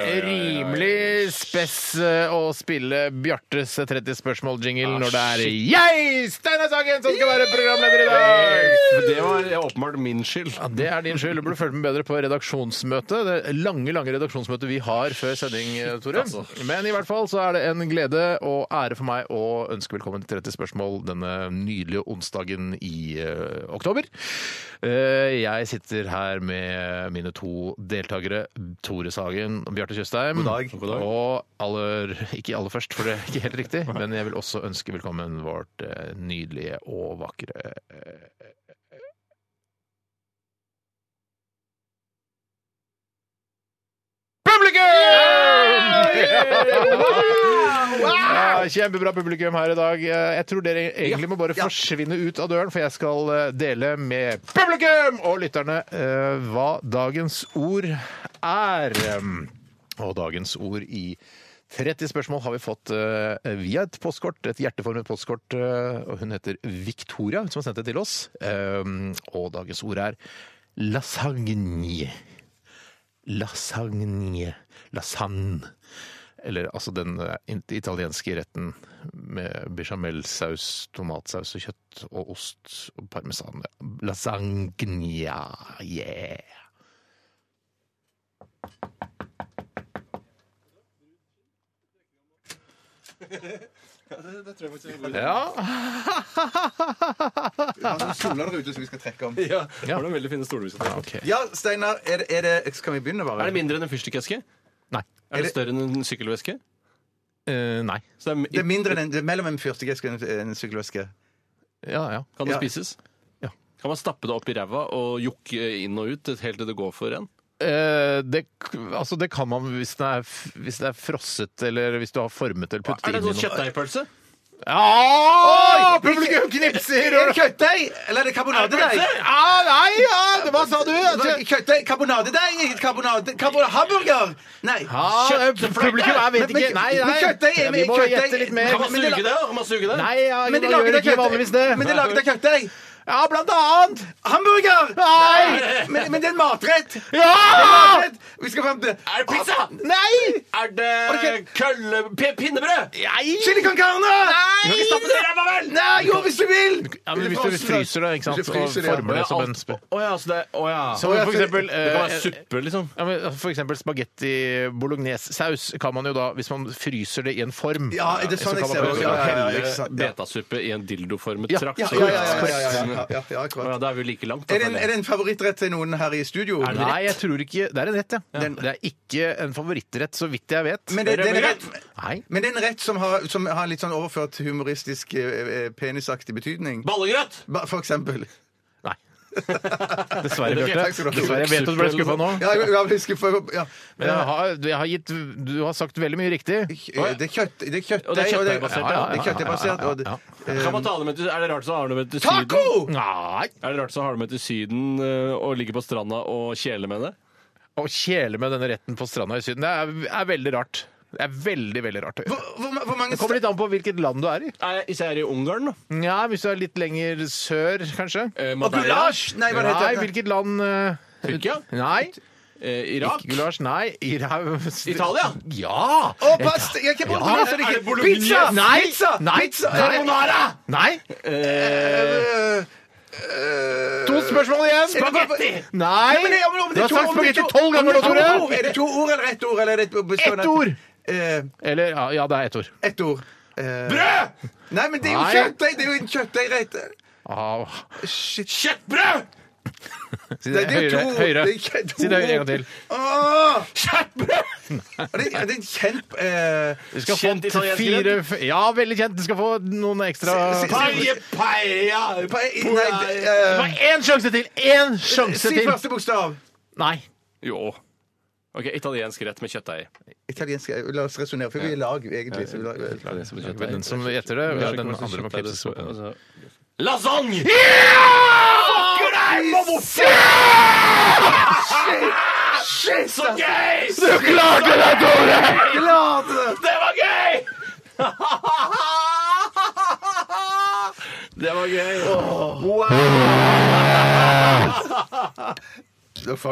Rimelig spess eh, å spille Bjartes 30 spørsmål-jingle når det er jeg, Steinar Sagen, som skal være programleder i dag! Det var åpenbart min skyld. Ja, Det er din skyld. Du burde følge med bedre på redaksjonsmøtet. Det lange lange redaksjonsmøtet vi har før sending, eh, Tore. Men i hvert fall så er det en glede og ære for meg å ønske velkommen til 30 spørsmål denne nydelige onsdagen i eh, oktober. Eh, jeg sitter her med mine to deltakere, Tore Sagen og Bjarte Tjøstheim. God dag. Og aller, ikke aller først, for det er ikke helt riktig, men jeg vil også ønske velkommen vårt eh, nydelige og vakre Ja, kjempebra publikum her i dag. Eh, Jeg tror dere egentlig må bare forsvinne ut av døren, for jeg skal eh, dele med publikum og lytterne eh, hva dagens ord er. Og dagens ord i 30 spørsmål har vi fått eh, via et postkort, et hjerteformet postkort. eh, og Hun heter Victoria, som har sendt det til oss. Eh, Og dagens ord er lasagne. Lasagne. Lasagne. Eller altså den eh, it- italienske retten med bechamelsaus, tomatsaus og kjøtt og ost og parmesan. Lasagna. Yeah. Ja. Han har stoler der ute som vi skal trekke om. Ja, det var noen veldig fine stoler vi skal ta. Ja, Steinar, er, det- er det Skal vi begynne, bare? Er det mindre enn en fyrstikkeske? Nei. Er det større enn en sykkelveske? Eh, nei. Så det Det er er, mindre enn det er mellom en fyrstikkeske og en- en sykkelveske. Ja, ja. kan det Ja. spises? Ja. Kan man stappe det opp i ræva og jokke inn og ut helt til det går for en? Eh, det, k- altså det kan man hvis det, er, f- hvis det er frosset, eller hvis du har formet eller puttet Er inn det i noe. Ah, sånn kjøttdeigpølse? Ja! Oi! Publikum knipser! Er det og- kjøttdeig? Eller er det karbonadedeig? Ja, nei, ja, hva sa du? Altså, Kjøttdeig? Karbonadedeig? Karbonade... karbonade hamburger? Nei. Ja, kjøttfløyte. publikum er- vet Men- men- ikke. Nei, nei. Men kjøttdeig Ja, er vi må gjette litt mer. Men- Kan man men det- suge det? Kan man suge det? Nei, ja, Men de man lager gjør da ikke kjøttdeig. vanligvis det. Men de lager da kjøttdeig. Ja, blant annet! Hamburger! Nei! Men, men det er en matrett. Det er en Ja! matrett. Vi skal frem til Er det pizza? Nei! Er det Ok. kølle... pi- Pinnebrød? Chili con carne! Du kan ikke stappe det i ræva, vel? Nei, jo, hvis du vil! Ja, men hvis du fryser det, ikke sant, Hvis du fryser og det, ja. former det som en spe... Å ja, så det Å ja. Som for eksempel, Det kan eh, være suppe, liksom. ja, men for eksempel spagetti bolognese-saus kan man jo da, hvis man fryser det i en form Ja, det er sånn jeg kan man ser det. prøve å Ja, ja, ja, Helle ikke sant, ja. betasuppe i en dildoformet Ja, trakt. Ja, så- ja, ja, ja, ja, ja, ja, ja, ja, Å ja, akkurat. Da er vi jo like langt. da, Er det, en, føler jeg. er det en favorittrett til noen her i studio? Er det Nei, jeg tror ikke Det er en rett, ja. Den- Det er ikke en favorittrett, så vidt jeg vet. Men det, det er en rett, Nei. men det er en rett som har, som har litt sånn overført humoristisk eh, eh, penisaktig betydning. Ballegrøt! Ba- For eksempel. Nei. Dessverre, Bjarte. takk skal du ha. Dessverre, jeg vet at du ble skuffa nå. Ja, jeg, jeg husker for, ja. Men jeg har, jeg har gitt, du har sagt veldig mye riktig. Eh, Det er kjøtt, det er kjøttdeig, Og og det er det er- kjøttdeigbasert, Ja, ja. det er kjøttdeigbasert, og det- Ja, Kan man ta det med til, er det rart så har du med til Syden? Taco! Nei! Er det rart så har du med til Syden eh, og ligger på stranda og kjeler med det? Å kjele med denne retten på stranda i Syden, det er, er veldig rart. Det er veldig, veldig rart å Hvor, gjøre. hvor, hvor mange Det kommer litt an på hvilket land du er i. Nei, Hvis jeg er i Ungarn, da. Ja, Hvis du er litt lenger sør, kanskje. Eh, Og Madeira? gulasj! Nei, hva Nei, heter det? hvilket land eh, Tyrkia? Nei. Eh, Irak? Ikke gulasj, nei. Ira- Italia? Ja! Å, pass! Jeg kan Ja, bare så det er det ikke bolognese? Pizza! Nei! Pizza! Nei! Pizza! Carbonara! Nei! To spørsmål igjen! Spagetti! Nei! Nei, men det- om- om det Du er har to- sagt om det er spagetti to- tolv om ganger det nå, er to ord, Tore! Er det to ord eller ett ord? Eller er det bestående- Ett ord! Eh, Eller ja, ja, det er ett ord. ett ord. Brød! Nei, men det er jo Nei. kjøttdeig! Det er jo en kjøttdeigrett. Au. Shit. Kjøttbrød! Ah, Si Nei, det er høyere. to- høyere. det er ikke to Si det høyere en gang til. Åh! Kjøttbrød! Ah! Det, er- det er en kjent eh, Du skal Kjent få italiensk fire f- Ja, veldig kjent. Du skal få noen ekstra Si- si- Paie, paia, Nei, paia. Det eh, var én sjanse til! Én sjanse Si til! første bokstav. Nei. Jo. Ok, Italiensk rett med kjøttdeig. Italiensk La oss resonnere, for vi er i lag, egentlig. Så vi lag, Den som gjetter det, ja, den andre må klipses. altså. Lasagne! Shit! Så gøy! Klarte det, Tore! Glad! Det var gøy! Det var gøy.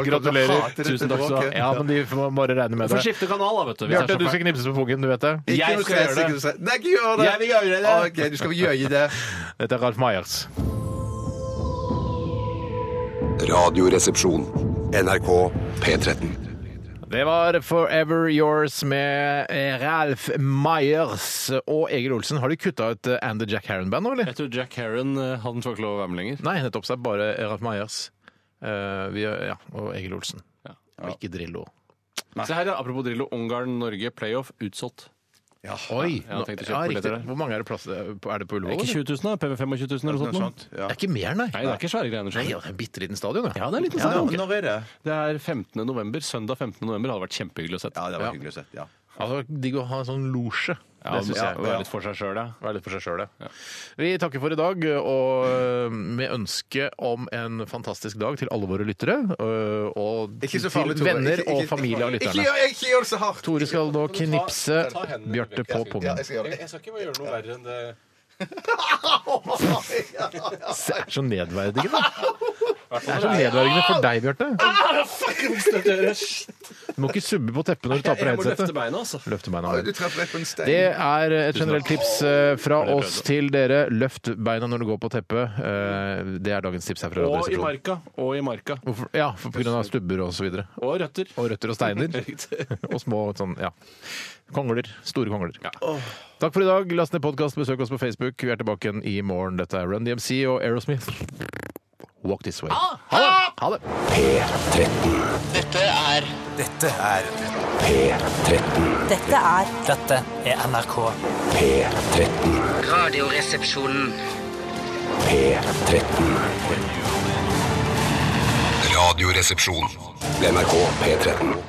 Gratulerer. Tusen takk skal du ha. Ja, men de får bare regne med Du får det. skifte kanal, da, vet du. hvis det Bjarte, er du så skal fælt. knipse på pungen, du vet det. Ikke Jeg noe stress, skal gjøre ikke noe det. stress. Nei, ikke gjør det. Jeg vil gjøre det. OK, du skal gjøre det. Dette er Ralf Meyers. Radioresepsjon. NRK P13. Det var Forever Yours med eh, Ralf Meyers og Egil Olsen. Har de kutta ut eh, And the Jack Harron Band nå, eller? Jeg tror Jack Herron han får ikke lov å være med lenger. Nei, nettopp. så er Det bare Ralf Meyers eh, vi, ja, og Egil Olsen. Ja. Og ikke Drillo. Se her, ja, Apropos Drillo. Ungarn-Norge, playoff utsolgt. Oi! jeg har tenkt å kjøpe ja, riktig. billetter der. Hvor mange er det plass til? Er det på Det er Ullevål? ikke eller? 20 000, da. PV 25 000 eller noe sånt. nå. Det er ikke mer, nei? Nei, altså. det er ikke svære greiene. Nei, skjønner du. ja, det er en bitte liten stadion, Ja, det er en liten Ja, stadion. ok. Når er det? Det er 15. november. Søndag 15. november hadde vært kjempehyggelig å sette. Ja, det var Ja. hyggelig å se. Ja. Altså, Digg å ha en sånn losje. Ja, det syns ja, jeg. Være litt for seg sjøl, ja. Være litt for seg sjøl, ja. Vi takker for i dag, og eh, med ønske om en fantastisk dag til alle våre lyttere. eh, Og Ikke så til farlig, Tore. venner Ikke- og ikke- familie av Ikke lytterne. gjør, ikke gjør det så hardt. Tore skal nå knipse ta hendene Bjarte vekk, på jeg skal- pungen. Ja, jeg skal gjøre det. skal ikke gjøre noe verre enn det. Det er så nedverdigende. Det er så nedverdigende for deg, Bjarte. Ah, Du må ikke subbe på teppet når du tar på deg Jeg må løfte headsetet. beina, altså. Løfte beina. Du traff rett på en stein. Det er et generelt tips eh, fra oss til dere. Løft beina når du går på teppet. Eh, Det er dagens tips her fra Og i Radioresepsjonen. marka. Og i marka. Hvorfor? Ja, for på grunn av stubber og så videre. Og røtter. Og røtter og steiner. og små sånn, ja. Kongler. Store kongler. Takk for i dag. Last ned podkast, besøk oss på Facebook. Vi er tilbake igjen i morgen. Dette er Run DMC og Aerosmith. Walk this way. Ha det! Ha det. Dette er Dette er Dette er NRK. Radioresepsjonen. Radioresepsjon. NRK P13.